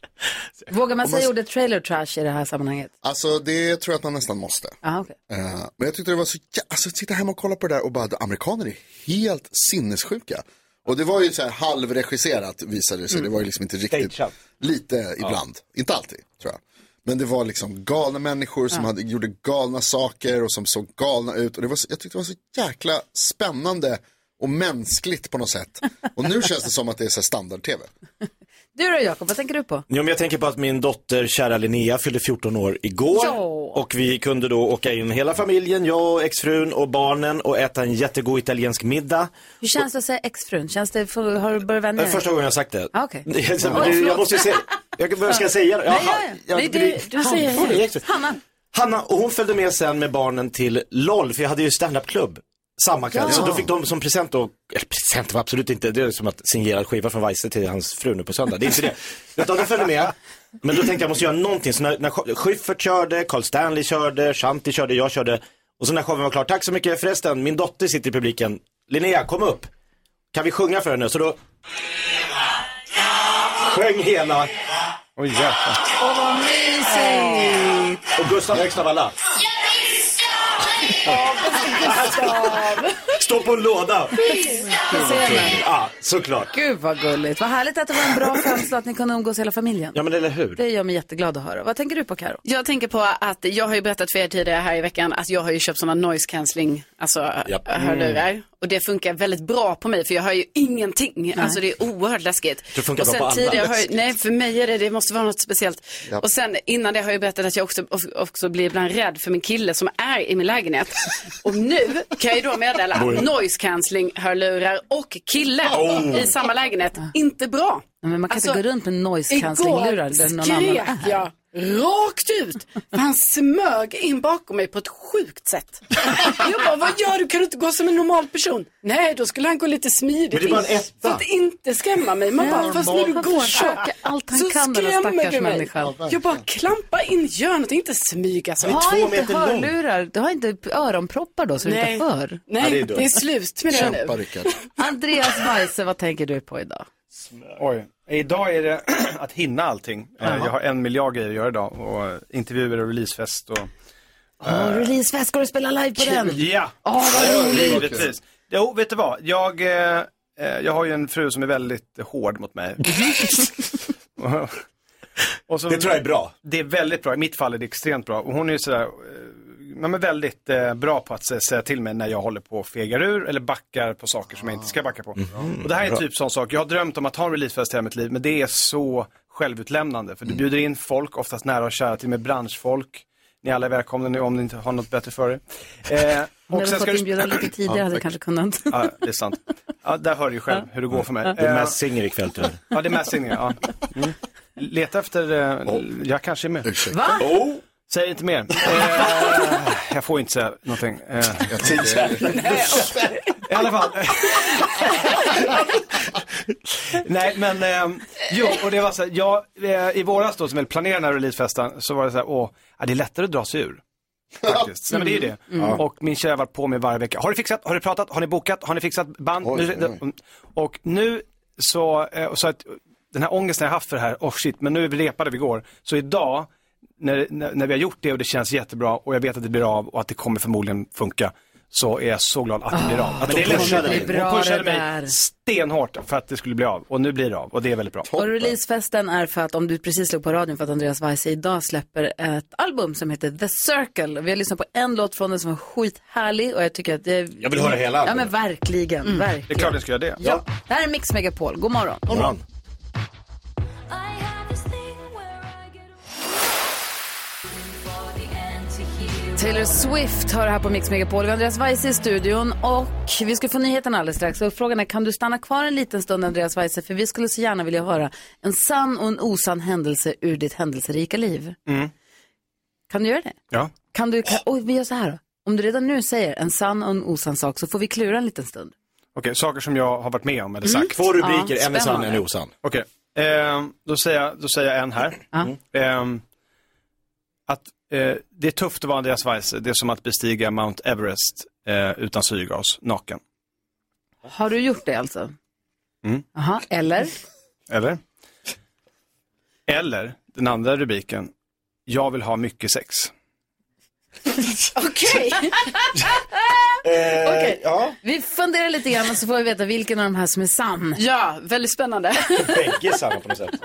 S2: Vågar man
S3: Om man-
S2: säga ordet trailer trash i det här sammanhanget?
S3: Alltså det tror jag att man nästan måste.
S2: Ah, okay.
S3: Eh, men jag tyckte det var så jä- alltså sitta hemma och kolla på det där och bara, amerikaner är helt sinnessjuka. Och det var ju så här halvregisserat visade det sig,
S2: Mm.
S3: det var ju liksom inte riktigt, lite ibland, inte alltid tror jag. Men det var liksom galna människor som hade, gjorde galna saker och som såg galna ut. Och det var, så- jag tyckte det var så jäkla spännande och mänskligt på något sätt. Och nu känns det som att det är så här standard-tv.
S2: Du då Jakob, vad tänker du på?
S7: Jo, men jag tänker på att min dotter, kära Linnea, fyllde 14 år igår.
S2: Ja.
S7: Och vi kunde då åka in hela familjen, jag och exfrun och barnen och äta en jättegod italiensk middag.
S2: Hur känns det att säga exfrun? Känns det, för, har du börjat
S7: Det
S2: vänja
S7: är första gången jag har sagt det.
S2: Ah,
S7: [laughs]
S2: okej.
S7: Jag-
S2: Oj, förlåt.
S7: jag måste ju säga, jag, vad ska jag säga?
S2: Nej, ja, ja. Nej, det- du säger
S7: Ja,
S2: det.
S7: exakt. Hanna, och hon följde med sen med barnen till LOL, för jag hade ju standup-klubb samma kväll.
S2: Ja.
S7: Så Alltså, då fick de som present då, eller present var absolut inte, det är som att signera skiva från Weise till hans fru nu på söndag. Det är inte
S13: [laughs]
S7: det. Utan de följde med. Men då tänkte jag, jag måste göra någonting. Så när, när Sch- Schyffert körde, Carl Stanley körde, Shanti körde, jag körde. Och så när showen var klar, tack så mycket förresten, min dotter sitter i publiken. Linnea, kom upp. Kan vi sjunga för henne? Så då sjöng hela.
S13: Oj, jäklar.
S2: Åh, vad mysigt!
S7: Och Gustav högst av alla. Stå på en låda. Ja, såklart.
S2: Gud vad gulligt. Vad härligt att det var en bra känsla att ni kunde umgås hela familjen.
S7: Ja, men eller hur?
S2: Det gör mig jätteglad att höra. Vad tänker du på Karo?
S1: Jag tänker på att jag har ju berättat för er tidigare här i veckan att jag har ju köpt sådana noise cancelling alltså,
S2: Japp. Mm.
S1: hörlurar. Och det funkar väldigt bra på mig för jag hör ju ingenting. Alltså det är oerhört läskigt.
S2: Det funkar
S1: och
S2: bra
S1: sen
S2: på alla.
S1: tidigare har jag, Nej, för mig är det, det måste vara något speciellt.
S2: Japp.
S1: Och sen innan det har jag berättat att jag också, också blir ibland rädd för min kille som är i min lägenhet. och nu kan jag ju då meddela
S2: Oj.
S1: att noise cancelling hörlurar och kille
S2: Oh.
S1: i samma lägenhet, inte bra.
S2: Nej, men man kan inte
S1: Alltså,
S2: gå runt med noise cancelling-lurar där någon
S1: Igår
S2: annan
S1: skrek
S2: är.
S1: jag rakt ut. För han smög in bakom mig på ett sjukt sätt. Jag bara, vad gör du? Kan du inte gå som en normal person? Nej, då skulle han gå lite smidigt
S2: Men det är bara en
S1: in,
S2: etta.
S1: För att inte skrämma mig. Man bara,
S2: Ja,
S1: fast när du
S2: han
S1: går så,
S2: försöker allt han
S1: så
S2: kan, den här
S1: skrämmer
S2: stackars
S1: du mig.
S2: människan. Ja,
S1: Jag bara, klampa in, gör något, inte smyga så.
S2: Ha inte hörlurar, du har inte öronproppar då så du
S1: Nej.
S2: inte hör.
S1: Nej, Ja, det är dumt. det är slut med det Kämpa, nu.
S3: Rickard.
S2: Andreas Weise, vad tänker du på idag?
S13: Oj. Idag är det [clears throat] att hinna allting. Eh,
S2: Jaha.
S13: Jag har en miljard grejer att göra idag. Och eh, intervjuer och releasefest och...
S2: Åh, releasefest, ska du spela live på den?
S13: Ja,
S2: Åh, vad roligt.
S13: givetvis. Jo, vet du vad? Jag, eh, eh, jag har ju en fru som är väldigt hård mot mig.
S2: Mm-hmm.
S13: Och- [laughs] och så-
S7: Det tror jag är bra.
S13: Det är väldigt bra. I mitt fall är det extremt bra. Och hon är ju sådär, eh, men men väldigt eh, bra på att sä- säga till mig när jag håller på och fegar ur eller backar på saker som jag inte ska backa på. Och det här är
S7: Bra.
S13: typ sån sak, jag har drömt om att ha en releasefest i hela mitt liv, men det är så självutlämnande. För du bjuder in folk, oftast nära och kära, till och med branschfolk. Ni alla är välkomna nu om ni inte har något bättre för er. Eh,
S2: Om jag hade fått
S13: du-
S2: inbjudan lite tidigare hade jag kanske kunnat.
S13: Ja, det är sant. Ja, där hör du ju själv hur det går för mig.
S7: Det är
S13: Eh,
S7: mässing ikväll tror jag.
S13: Ja, det är mässingen, ja. Mm. Leta efter, eh, jag kanske är med.
S3: Ursäkta.
S2: Va?
S13: Säg inte mer. Eh, jag får inte säga någonting. Eh,
S3: Jag tänkte-
S13: I alla fall. Nej, men ehm, jo, och det var så här, jag, eh, i våras då som jag planerade den här releasefesten så var det så här, åh, ja, det är lättare att dra sig ur. Faktiskt. Nej, men det är ju det.
S7: Mm. Mm.
S13: Och min tjej har varit på mig varje vecka. Har ni fixat? Har ni pratat? Har ni bokat? Har ni fixat band?
S7: Oj,
S13: Nu- Och nu så, eh, så att den här ångesten jag haft för det här, oh shit, men nu repade vi igår. Så idag, när, när, när vi har gjort det och det känns jättebra och jag vet att det blir av och att det kommer förmodligen funka, så är jag så glad att det blir av.
S7: Ah,
S13: Att
S7: det
S13: är lätt-
S7: pushade dig. Det är
S13: Hon
S7: bra
S13: pushade
S2: det där.
S13: mig stenhårt för att det skulle bli av och nu blir det av och det är väldigt bra.
S2: Och releasefesten är för att, om du precis slog på radion för att Andreas Weise idag släpper ett album som heter The Circle. Vi har lyssnat på en låt från den som var skithärlig och jag tycker att det...
S13: Jag vill höra hela
S2: Ja
S13: albumet.
S2: men verkligen,
S13: Mm. Det är
S2: Mm, verkligen.
S13: klart jag ska göra det.
S2: Ja. Det här är Mix Megapol, god morgon. God morgon. Taylor Swift hör här på Mix Megapol. Vi har Andreas Weise i studion och vi ska få nyheten alldeles strax. Och frågan är, kan du stanna kvar en liten stund Andreas Weise? För vi skulle så gärna vilja höra en sann och en osann händelse ur ditt händelserika liv.
S13: Mm.
S2: Kan du göra det?
S13: Ja.
S2: Kan du, kan, oj, vi gör så här då. Om du redan nu säger en sann och en osann sak så får vi klura en liten stund.
S13: Okej, saker som jag har varit med om eller
S2: Mm.
S13: sagt.
S2: Två rubriker, Ja, en är sann, spännande. en är
S7: osann.
S13: Okej, ehm, då, säger jag, då säger jag en här.
S2: Mm.
S13: Ehm, att eh, det är tufft att vara Andreas Weise, det är som att bestiga Mount Everest eh, utan syrgas, naken.
S2: Har du gjort det alltså?
S13: Mm.
S2: Aha, eller?
S13: Eller? Eller, den andra rubriken, jag vill ha mycket sex.
S2: Okej. Okej. Vi funderar lite grann och så får vi veta vilken av de här som är sann.
S1: Ja, väldigt spännande.
S7: Bägge är sanna på något sätt.
S2: [laughs]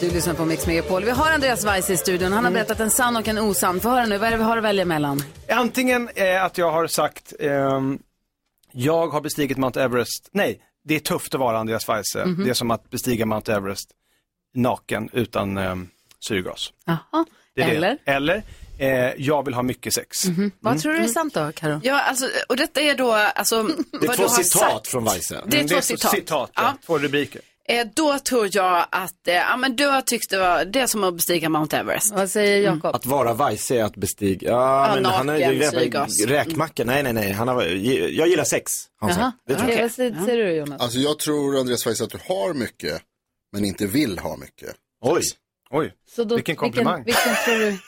S2: Du lyssnar på Mix Megapol. Vi har Andreas Weise i studion. Han har berättat en sann och en osann. Få höra nu, vad är det vi har att välja mellan?
S13: Antingen eh, att jag har sagt, ehm, jag har bestigit Mount Everest, nej, det är tufft att vara Andreas Weise,
S2: Mhm.
S13: det är som att bestiga Mount Everest naken utan ehm, syrgas.
S2: Jaha.
S13: Det är
S1: Eller?
S13: Det. Eller, eh, jag vill ha mycket sex. Mm.
S2: Mhm. tror du är sant då, Karo?
S1: Ja, alltså, och detta är då, alltså,
S13: Det är
S1: vad
S13: två
S1: du har
S13: citat
S1: sagt.
S13: från Weise.
S1: Det är
S13: Mm,
S1: två
S13: det är så-
S1: citat.
S13: citat, ja.
S1: ja.
S13: Två rubriker.
S1: Eh, då tror jag att, eh, ja men du har tyckt det var, det är som att bestiga Mount Everest. Mm.
S2: Vad säger Jakob?
S7: Att vara vajse är att bestiga, ja,
S1: Ja,
S7: men han har ju
S1: naken,
S7: rä-
S1: syrgas. Mm.
S7: räkmacka, nej nej nej, han har, jag gillar sex. har han sagt.
S2: Jaha.
S7: Det tror jag.
S2: Okej, vad säger, säger du Jonas?
S3: Alltså jag tror Andreas faktiskt att du har mycket, men inte vill ha mycket.
S7: Oj,
S13: oj,
S2: Så då- Vilken, vilken, tror, du,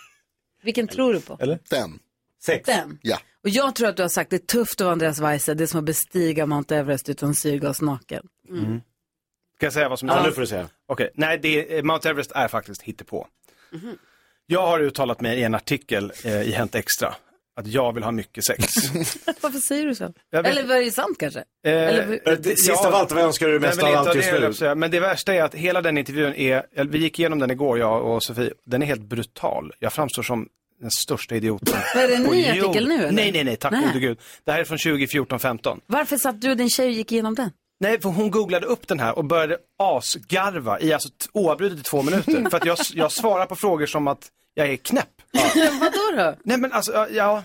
S2: vilken tror du på?
S7: Eller?
S3: Den.
S7: Sex.
S2: Den.
S3: Ja.
S2: Och jag tror att du har sagt det är tufft att vara Andreas Weise. Det är som att bestiga Mount Everest utan syrgas naken.
S13: Mm. Ska jag säga vad som är
S7: Ja,
S13: sant?
S7: nu får du säga.
S13: Okej, nej, det är, Mount Everest är faktiskt hittepå.
S2: Mm-hmm.
S13: Jag har uttalat mig i en artikel eh, i Hänt Extra att jag vill ha
S2: [laughs]
S13: mycket sex.
S2: Varför säger du så?
S13: Jag vet-
S2: Eller var det sant kanske?
S13: Eh,
S2: Eller,
S13: det-
S7: sist av allt, vad önskar du mest
S13: Nej, men
S7: av
S13: inte
S7: allt
S13: det
S7: just
S13: jag
S7: nu?
S13: vill säga. Men det värsta är att hela den intervjun är, eller vi gick igenom den igår jag och Sofie, den är helt brutal. Jag framstår som den största idioten.
S2: Vad är det, en
S13: på
S2: ny
S13: jorden.
S2: artikel nu, eller?
S13: Nej, nej, nej, tack
S2: Nej.
S13: gode gud. Det här är från 2014, 15.
S2: varför satt du och din tjej och gick igenom den?
S13: Nej, för hon googlade upp den här och började asgarva i alltså t- oavbrutet i två minuter. för att jag, jag svarar på frågor som att jag är knäpp.
S2: [laughs] Vadå då?
S13: Nej men alltså, ja, ja.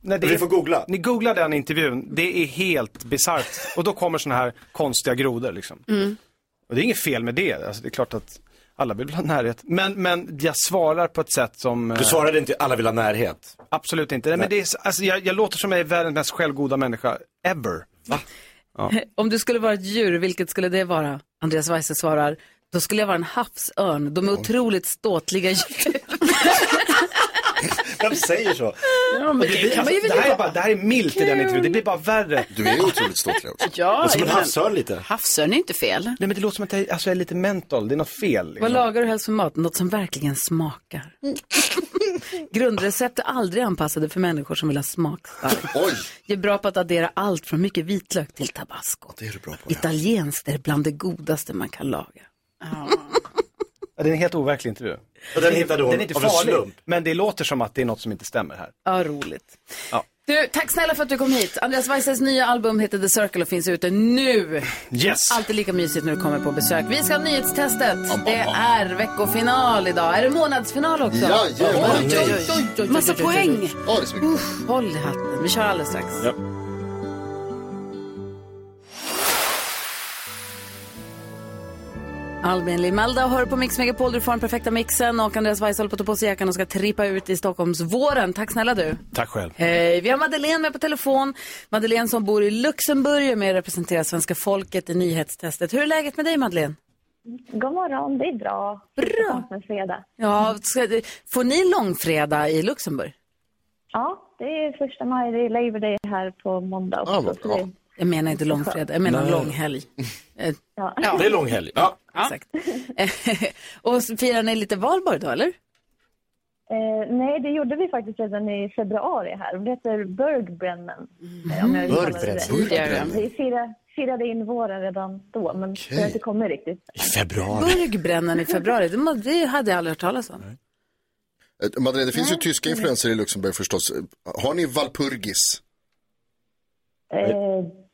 S13: Nej,
S7: Vi får googla.
S13: Ni googlar den intervjun, det är helt bisarrt. Och då kommer såna här konstiga grodor liksom.
S1: Mm.
S13: Och det är inget fel med det, alltså, det är klart att alla vill ha närhet. Men, men jag svarar på ett sätt som... eh,
S7: Du svarade inte alla vill ha närhet.
S13: Absolut inte. Nej, men det är, s- alltså, jag, jag låter som jag är världens mest självgoda människa ever. Va? Ja.
S2: [laughs] Om du skulle vara ett djur, vilket skulle det vara? Andreas Weise svarar, då skulle jag vara en havsörn. De är otroligt ståtliga
S13: [laughs]
S2: djur.
S7: Vem säger så?
S13: Och det, blir, alltså, det, här är bara, det här är milt i den intervjun, det blir bara värre.
S3: Du är otroligt ståtlig också.
S1: Ja, men-
S7: lite.
S1: Havsörn är inte fel. Nej
S13: men det låter som att jag, alltså, jag är lite mental, det är något fel. Liksom.
S2: Vad lagar du helst för mat? Något som verkligen
S13: [laughs]
S2: smakar. Grundrecept är aldrig anpassade för människor som vill ha smakstarkt.
S3: Oj!
S2: Det är bra på att addera allt från mycket vitlök till tabasco.
S3: Det är du bra på.
S2: Italienskt är bland det godaste man kan laga.
S13: Ja, det är en helt overklig intervju.
S7: Och den hittade hon
S13: den är inte
S7: av en
S13: farlig,
S7: slump.
S13: men det låter som att det är något som inte stämmer här.
S2: Ja, roligt.
S13: Ja.
S2: Du, tack snälla för att du kom hit. Andreas Weises nya album heter The Circle och finns ute nu.
S13: Yes.
S2: Alltid lika mysigt när du kommer på besök. Vi ska ha nyhetstestet. Det är veckofinal idag. Är det månadsfinal också?
S1: Jajamän.
S2: Oj, oj, oj, oj, oj, oj.
S1: Massa
S2: oj, oj, oj, oj.
S1: poäng.
S2: Uff, Håll i hatten. Vi kör alldeles strax. Albin Limelda hör på Mix Megapol, du får den perfekta mixen och Andreas Weise håller på att ta på sig jackan och ska trippa ut i Stockholmsvåren. Tack snälla du.
S7: Tack själv.
S2: Hej, Eh, vi har Madeleine med på telefon. Madeleine som bor i Luxemburg och med och representerar svenska folket i nyhetstestet. Hur är läget med dig Madeleine?
S15: God morgon, det är bra. Bra! En fredag.
S2: Ja, ska, får ni långfredag i Luxemburg?
S15: Ja, det är första maj, det är Labor Day här på måndag också. så det-
S2: Jag menar inte långfredag, jag menar
S15: Nej.
S2: långhelg. Eh,
S15: Ja.
S7: Det är långhelg. Ja.
S2: Exakt. Eh, och så firar ni lite valborg då, eller?
S15: Eh, nej, det gjorde vi faktiskt redan i februari här. Det heter Burgbrennen.
S3: Mm.
S15: eh, om jag uttalar det
S7: Burgbrennen.
S15: rätt.
S7: Burgbrennen.
S15: Vi firade, firade in våren redan då, men det har inte kommit riktigt.
S7: I februari.
S2: Burgbrännen i februari, det, må- det hade jag aldrig hört talas om.
S3: Eh, Madeleine, det finns ju
S15: Nej.
S3: tyska influenser i Luxemburg förstås. Eh, Har ni Valpurgis?
S15: Eh,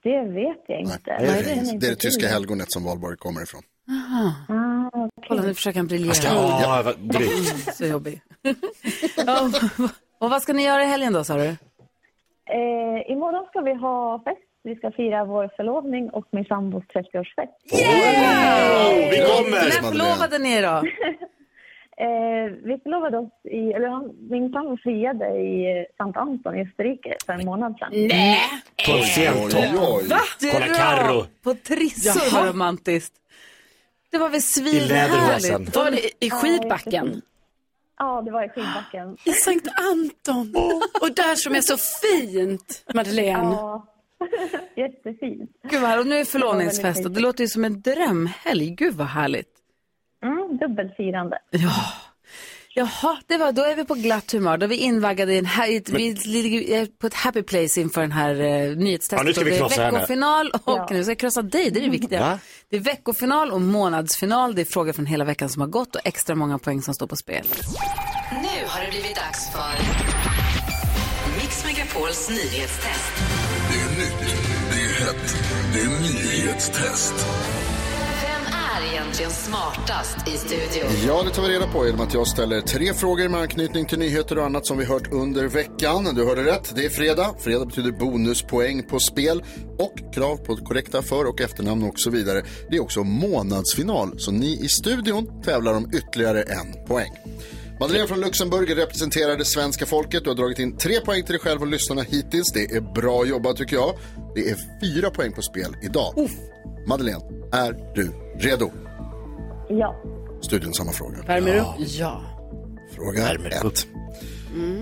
S15: det vet jag inte.
S3: Det är det typ- tyska helgonet som valborg kommer ifrån.
S2: Aha. Kolla, nu försöker han briljera.
S3: Ja,
S7: vad drygt.
S2: Så jobbig. ja, och vad ska ni göra i helgen då, sa du?
S15: Eh, imorgon ska vi ha fest. Vi ska fira vår förlovning och min sambos 30-årsfest.
S7: Vi
S2: När förlovade ni er då?
S15: Eh, vi förlovade oss i, eller han- min sambo friade i eh, Sankt Anton i Österrike för en månad sedan.
S2: Nej!
S7: På en sen
S15: Oj, oj,
S7: topp.
S15: oj.
S2: Va?
S7: Kolla Carro.
S2: På trissor,
S7: Jaha.
S2: vad romantiskt. Det var väl
S7: I läderhosen.
S2: svinhärligt.
S1: Var det i- i skidbacken?
S15: Ja, det var i skidbacken.
S1: I Sankt Anton. Och där som är så fint, Madeleine.
S15: Ja, [laughs] jättefint.
S2: Gud vad härligt. Och nu är
S15: [laughs] Det var
S2: förlovningsfest
S15: väldigt
S2: och det låter ju som en drömhelg. Gud vad härligt.
S15: Mm, dubbelfirande.
S2: Jaha, det var, då är vi på glatt humör. Då är vi invaggade i en ha- i ett, vi ligger på ett happy place inför den här eh, nyhetstestet.
S7: Ja, nu ska
S2: Och
S7: vi
S2: det är
S7: krossa henne.
S2: veckofinal och nu ska jag krossa dig, det
S15: Mm.
S2: är det viktiga.
S7: Va?
S2: Det är veckofinal och månadsfinal. Det är frågor från hela veckan som har gått och extra många poäng som står på spel.
S17: Nu har det blivit dags för Mix Megapols nyhetstest.
S19: Det är nytt, det är hett, det är nyhetstest.
S17: Vem är egentligen smartast i studion?
S3: Ja, det tar vi reda på genom att jag ställer tre frågor med anknytning till nyheter och annat som vi hört under veckan. Du hörde rätt, det är fredag. Fredag betyder bonuspoäng på spel och krav på korrekta för och efternamn och så vidare. Det är också månadsfinal, så ni i studion tävlar om ytterligare en poäng. Madeleine från Luxemburg representerar det svenska folket. Du har dragit in tre poäng till dig själv och lyssnarna hittills. Det är bra jobbat tycker jag. Det är fyra poäng på spel idag. Madeleine, är du redo?
S15: Ja.
S3: Studion samma fråga.
S2: Värmer upp? Ja.
S3: Fråga ett.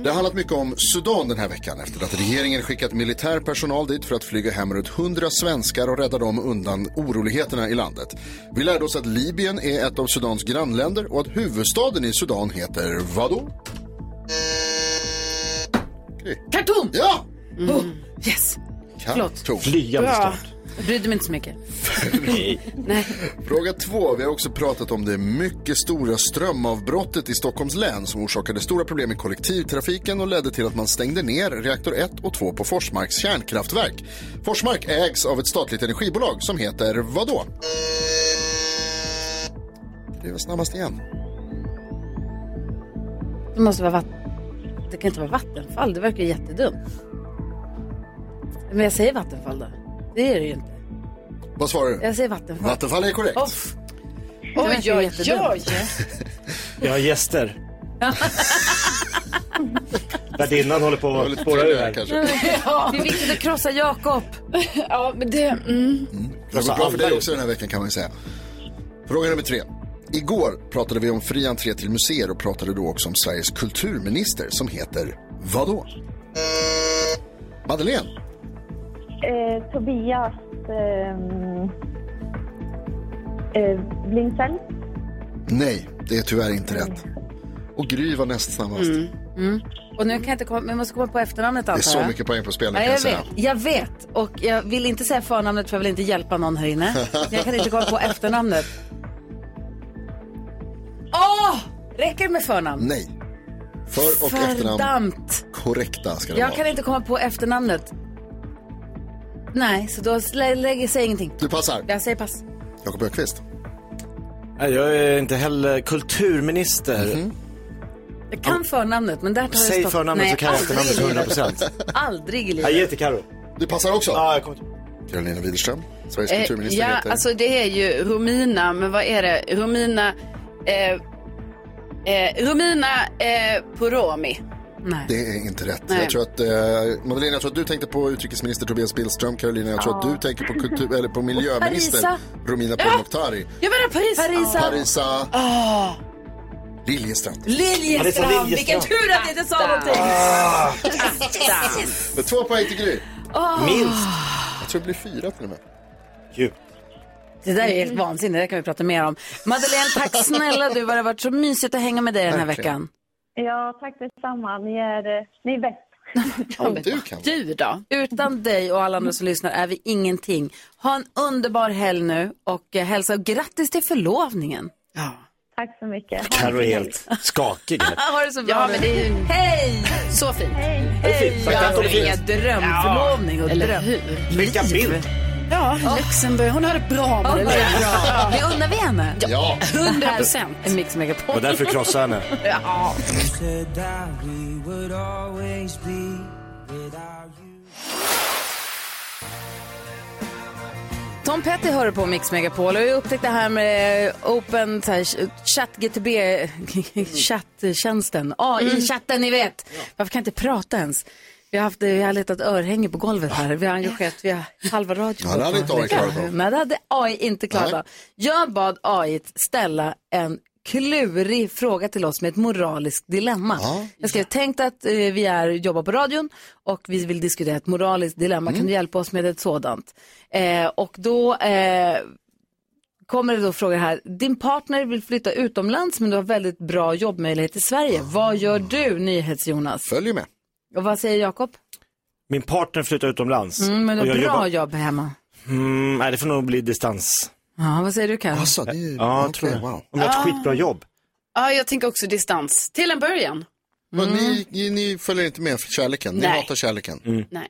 S3: Det har handlat mycket om Sudan den här veckan efter att regeringen skickat militär personal dit för att flyga hem runt 100 svenskar och rädda dem undan oroligheterna i landet. Vi lärde oss att Libyen är ett av Sudans grannländer och att huvudstaden i Sudan heter vadå?
S2: Khartoum!
S3: Ja!
S2: Oh, yes!
S3: Förlåt.
S7: Flygande
S2: Bra. Jag brydde mig inte så mycket.
S3: Fråga två. Vi har också pratat om det mycket stora strömavbrottet i Stockholms län som orsakade stora problem i kollektivtrafiken och ledde till att man stängde ner reaktor 1 och 2 på Forsmarks kärnkraftverk. Forsmark ägs av ett statligt energibolag som heter vadå? Det var snabbast igen.
S2: Det måste vara vatten. Det kan inte vara vattenfall, det verkar ju jättedumt. Men jag säger vattenfall då. Det är det ju inte.
S3: Vad svarar du?
S2: Jag säger vattenfall.
S3: Vattenfall är korrekt.
S2: Off. Det
S1: Oj,
S2: verkar ju
S1: oj,
S2: jättedumt.
S1: oj.
S7: Jag
S1: [laughs]
S7: har gäster. Värdinnan håller på att spåra ur här.
S1: Ja.
S2: Det är viktigt att krossa Jakob.
S1: Ja, men det... Mm.
S3: Det har gått bra för dig också den här veckan kan man ju säga. Fråga nummer tre. Igår pratade vi om fri entré till museer och pratade då också om Sveriges kulturminister som heter vadå? Madeleine.
S15: Eh, Tobias ehm, eh, Blingsell.
S3: Nej, det är tyvärr inte rätt. Och Gry var näst snabbast.
S2: Mm. Mm. Och nu kan jag inte komma, men jag måste komma på efternamnet
S3: Det är
S2: antar
S3: så mycket poäng på spel nu
S2: Ja,
S3: kan
S2: jag,
S3: jag säga.
S2: vet, jag vet, och jag vill inte säga förnamnet för jag vill inte hjälpa någon här inne. Men jag kan inte komma på efternamnet. Åh! Räcker det med förnamn?
S3: Nej. För och efternamn
S2: Fördammt!
S3: korrekta ska det
S2: Jag
S3: vara.
S2: kan inte komma på efternamnet. Nej, så då slä- lägger jag ingenting.
S3: Du passar.
S2: Jag säger pass.
S3: Jakob Öqvist.
S7: Nej, jag är inte heller kulturminister.
S2: Jag kan förnamnet, men där tar jag
S7: Säg
S2: stopp.
S7: förnamnet
S2: Nej,
S7: så kan jag
S2: aldrig i
S7: efternamnet
S2: livet.
S7: 100%.
S2: Aldrig i
S7: Jag
S2: livet.
S7: ger till Carro.
S3: Du passar också?
S7: Ja, jag kommer till-
S3: Carolina Widerström. Sveriges
S1: Eh,
S3: kulturminister
S1: ja,
S3: heter...
S1: alltså det är ju Romina, men vad är det? Romina... Eh, eh, Romina eh, Poromi. Nej.
S3: Det är inte rätt.
S1: Nej.
S3: Jag tror att, eh, Madeleine, jag tror att du tänkte på utrikesminister Tobias Billström. Carolina, jag tror
S1: Ja.
S3: att du tänker på, kultur, eller på miljöminister
S1: Parisa.
S3: Romina Pourmokhtari.
S1: Jag menar Paris. Ah,
S3: Parisa. Parisa
S1: Åh,
S3: Liljestrand.
S2: Liljestrand, vilken tur att jag inte sa någonting.
S3: Ah. Med två poäng till Gry.
S1: Ah.
S2: Åh. Minst.
S3: Jag tror det blir fyra till och med.
S2: Det där är helt vansinnigt, det kan vi prata mer om. Madeleine,
S7: [laughs]
S2: tack snälla du, det har varit så mysigt att hänga med dig den här
S1: Verkligen.
S2: veckan.
S15: Ja, tack detsamma. Ni är, eh, ni är bäst.
S1: du, kan. du då?
S2: Utan dig och alla andra som lyssnar är vi ingenting. Ha en underbar helg nu och eh, hälsa och grattis till förlovningen.
S15: Tack så
S1: [laughs]
S15: mycket.
S7: Carro är helt skakig. här.
S2: Ha det så bra
S1: Ja,
S2: nu.
S1: men det är ju...
S2: Hej!
S1: Så fint. Hej.
S2: Hej!
S1: Tack, tack,
S2: Ja,
S1: tack.
S2: Inga drömförlovning och
S1: Ja, eller
S2: dröm.
S1: hur?
S2: Vilka bild!
S1: Ja, Luxemburg. Hon har det bra med det.
S2: det är bra. Det undrar vi henne.
S3: Ja.
S1: 100 procent.
S2: En Mix Megapol.
S7: Och därför krossar henne.
S1: Ja.
S2: Tom Petty hör på Mix Megapol och jag upptäckte det här med eh, Open så här, Chat GTB, [laughs] eh, chattjänsten, AI-chatten ni vet. Varför kan jag inte prata ens? Vi har, haft, eh, vi har letat örhänge på golvet här, vi har engagerat vi har halva radion.
S3: Ja, det hade inte AI klarat av.
S2: Nej, det hade AI inte klarat
S3: Nej.
S2: av. Jag bad AI ställa en klurig fråga till oss med ett moraliskt dilemma. Jag skrev, tänkt att eh, vi är, jobbar på radion och vi vill diskutera ett moraliskt dilemma.
S3: Mm.
S2: Kan du hjälpa oss med ett sådant? Eh, och då eh, kommer det då frågor här. Din partner vill flytta utomlands men du har väldigt bra jobbmöjlighet i Sverige. Vad gör du, NyhetsJonas?
S3: Följer Ah. med.
S2: Och vad säger Jakob?
S7: Min partner flyttar utomlands.
S2: Mm, men du
S7: och
S2: har
S7: jag
S2: bra
S7: jobbar...
S2: jobb hemma.
S7: Mm, nej, det får nog bli distans.
S2: Ja, vad säger du Karin?
S3: Alltså,
S7: Ja, tror jag. Om jag har ett
S1: Ah.
S7: skitbra jobb.
S1: ja, jag tänker också distans. Till en början.
S3: Men ni, ni, ni följer inte med för kärleken. Ni
S1: Mm. Nej.
S3: hatar kärleken.
S7: Mm.
S1: Nej.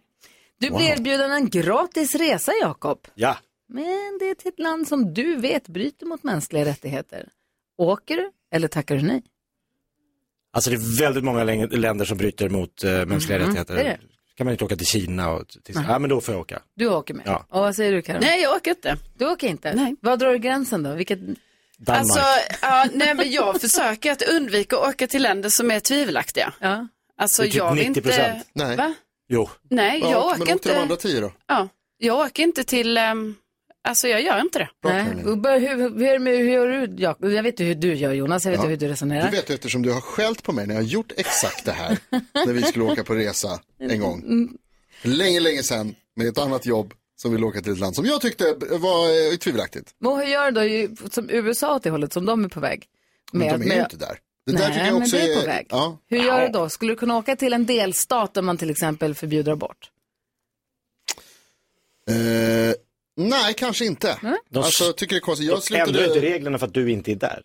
S2: Du
S3: Wow.
S2: blir erbjuden en gratis resa, Jakob.
S7: Ja.
S2: Men det är till ett land som du vet bryter mot mänskliga rättigheter. Åker du eller tackar du nej?
S7: Alltså det är väldigt många läng- länder som bryter mot eh, mänskliga
S2: Mhm.
S7: rättigheter.
S2: Det är det.
S7: kan man inte åka till Kina och till...
S2: Nej.
S7: Ja, men då får jag åka.
S2: Du åker med.
S7: Ja.
S2: Och vad säger du Karin?
S1: Nej, jag åker inte.
S2: Du åker inte? Nej. Var drar du gränsen då? Vilket...
S7: Danmark.
S1: Alltså, ja, nej, men jag försöker att undvika att åka till länder som är tvivelaktiga.
S2: Ja.
S1: Alltså,
S7: Det är typ
S1: jag vill
S7: 90
S1: inte...
S3: Nej.
S1: Va?
S7: Jo.
S1: Nej, jag åker
S3: Men åk till de
S1: inte.
S3: andra tio då.
S1: Ja, jag åker inte till... ehm, alltså, jag gör inte det.
S2: Nej. Och bara, Hur, hur, hur, hur gör du Jakob? Jag vet ju hur du gör Jonas, jag vet
S3: Ja.
S2: ju hur du resonerar.
S3: Du vet ju eftersom du har skällt på mig när jag har gjort exakt
S2: [laughs]
S3: det här. när vi skulle åka på resa en gång.
S2: Mm.
S3: Länge, länge sedan med ett annat jobb som ville åka till ett land som jag tyckte var eh, tvivelaktigt.
S2: Men hur gör du då ju- som USA åt det hållet som de är på väg?
S3: Men de är ju
S2: med-
S3: inte där. Det
S2: Nej,
S3: där tycker jag
S2: men
S3: också
S2: det är på
S3: är-
S2: väg.
S3: Ja.
S2: Hur gör du då? Skulle du kunna åka till en delstat om man till exempel förbjuder abort?
S3: Eh, nej, kanske inte.
S7: De
S3: Alltså, jag tycker det är konstigt. Jag
S7: de ändrar
S3: slutade...
S7: ju inte reglerna för att du inte är där.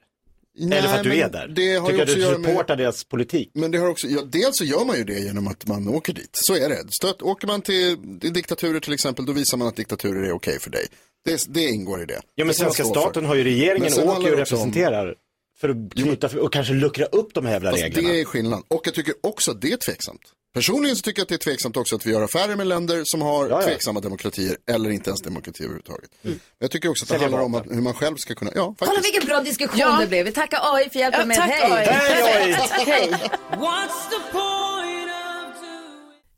S3: Nej,
S7: Eller för att du
S3: men
S7: är där.
S3: det har ju
S7: tycker jag
S3: också att
S7: du
S3: göra med-
S7: supportar deras politik.
S3: Men det har också, ja, dels så gör man ju det genom att man åker dit. Så är det. Stöt, åker man till, till diktaturer till exempel, då visar man att diktaturer är okej för dig. Det, det ingår i det.
S7: Ja,
S3: Det
S7: men
S3: får man
S7: svenska
S3: stå för.
S7: staten har ju
S3: Men
S7: regeringen
S3: sen
S7: åker
S3: handlar
S7: ju och
S3: det också om-
S7: representerar. För att knyta, för, och kanske luckra upp de här jävla
S3: Fast
S7: reglerna.
S3: det är skillnad. Och jag tycker också att det är tveksamt. Personligen så tycker jag att det är tveksamt också att vi gör affärer med länder som har tveksamma demokratier eller inte ens demokrati överhuvudtaget.
S7: Mm.
S3: Men jag tycker också att det
S7: Sälja
S3: handlar om att, hur man själv ska kunna, ja faktiskt.
S2: Kolla vilken bra diskussion
S1: Ja.
S2: det blev. Vi tackar AI för hjälpen
S1: Ja,
S2: med.
S1: tack, AI. [laughs] Hej, AI.
S2: Hej.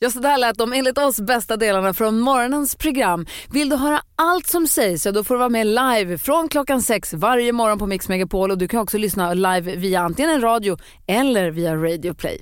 S2: Ja, så där lät de enligt oss bästa delarna från morgonens program. Vill du höra allt som sägs så då får du vara med live från klockan sex varje morgon på Mix Megapol och du kan också lyssna live via antingen en radio eller via Radio Play.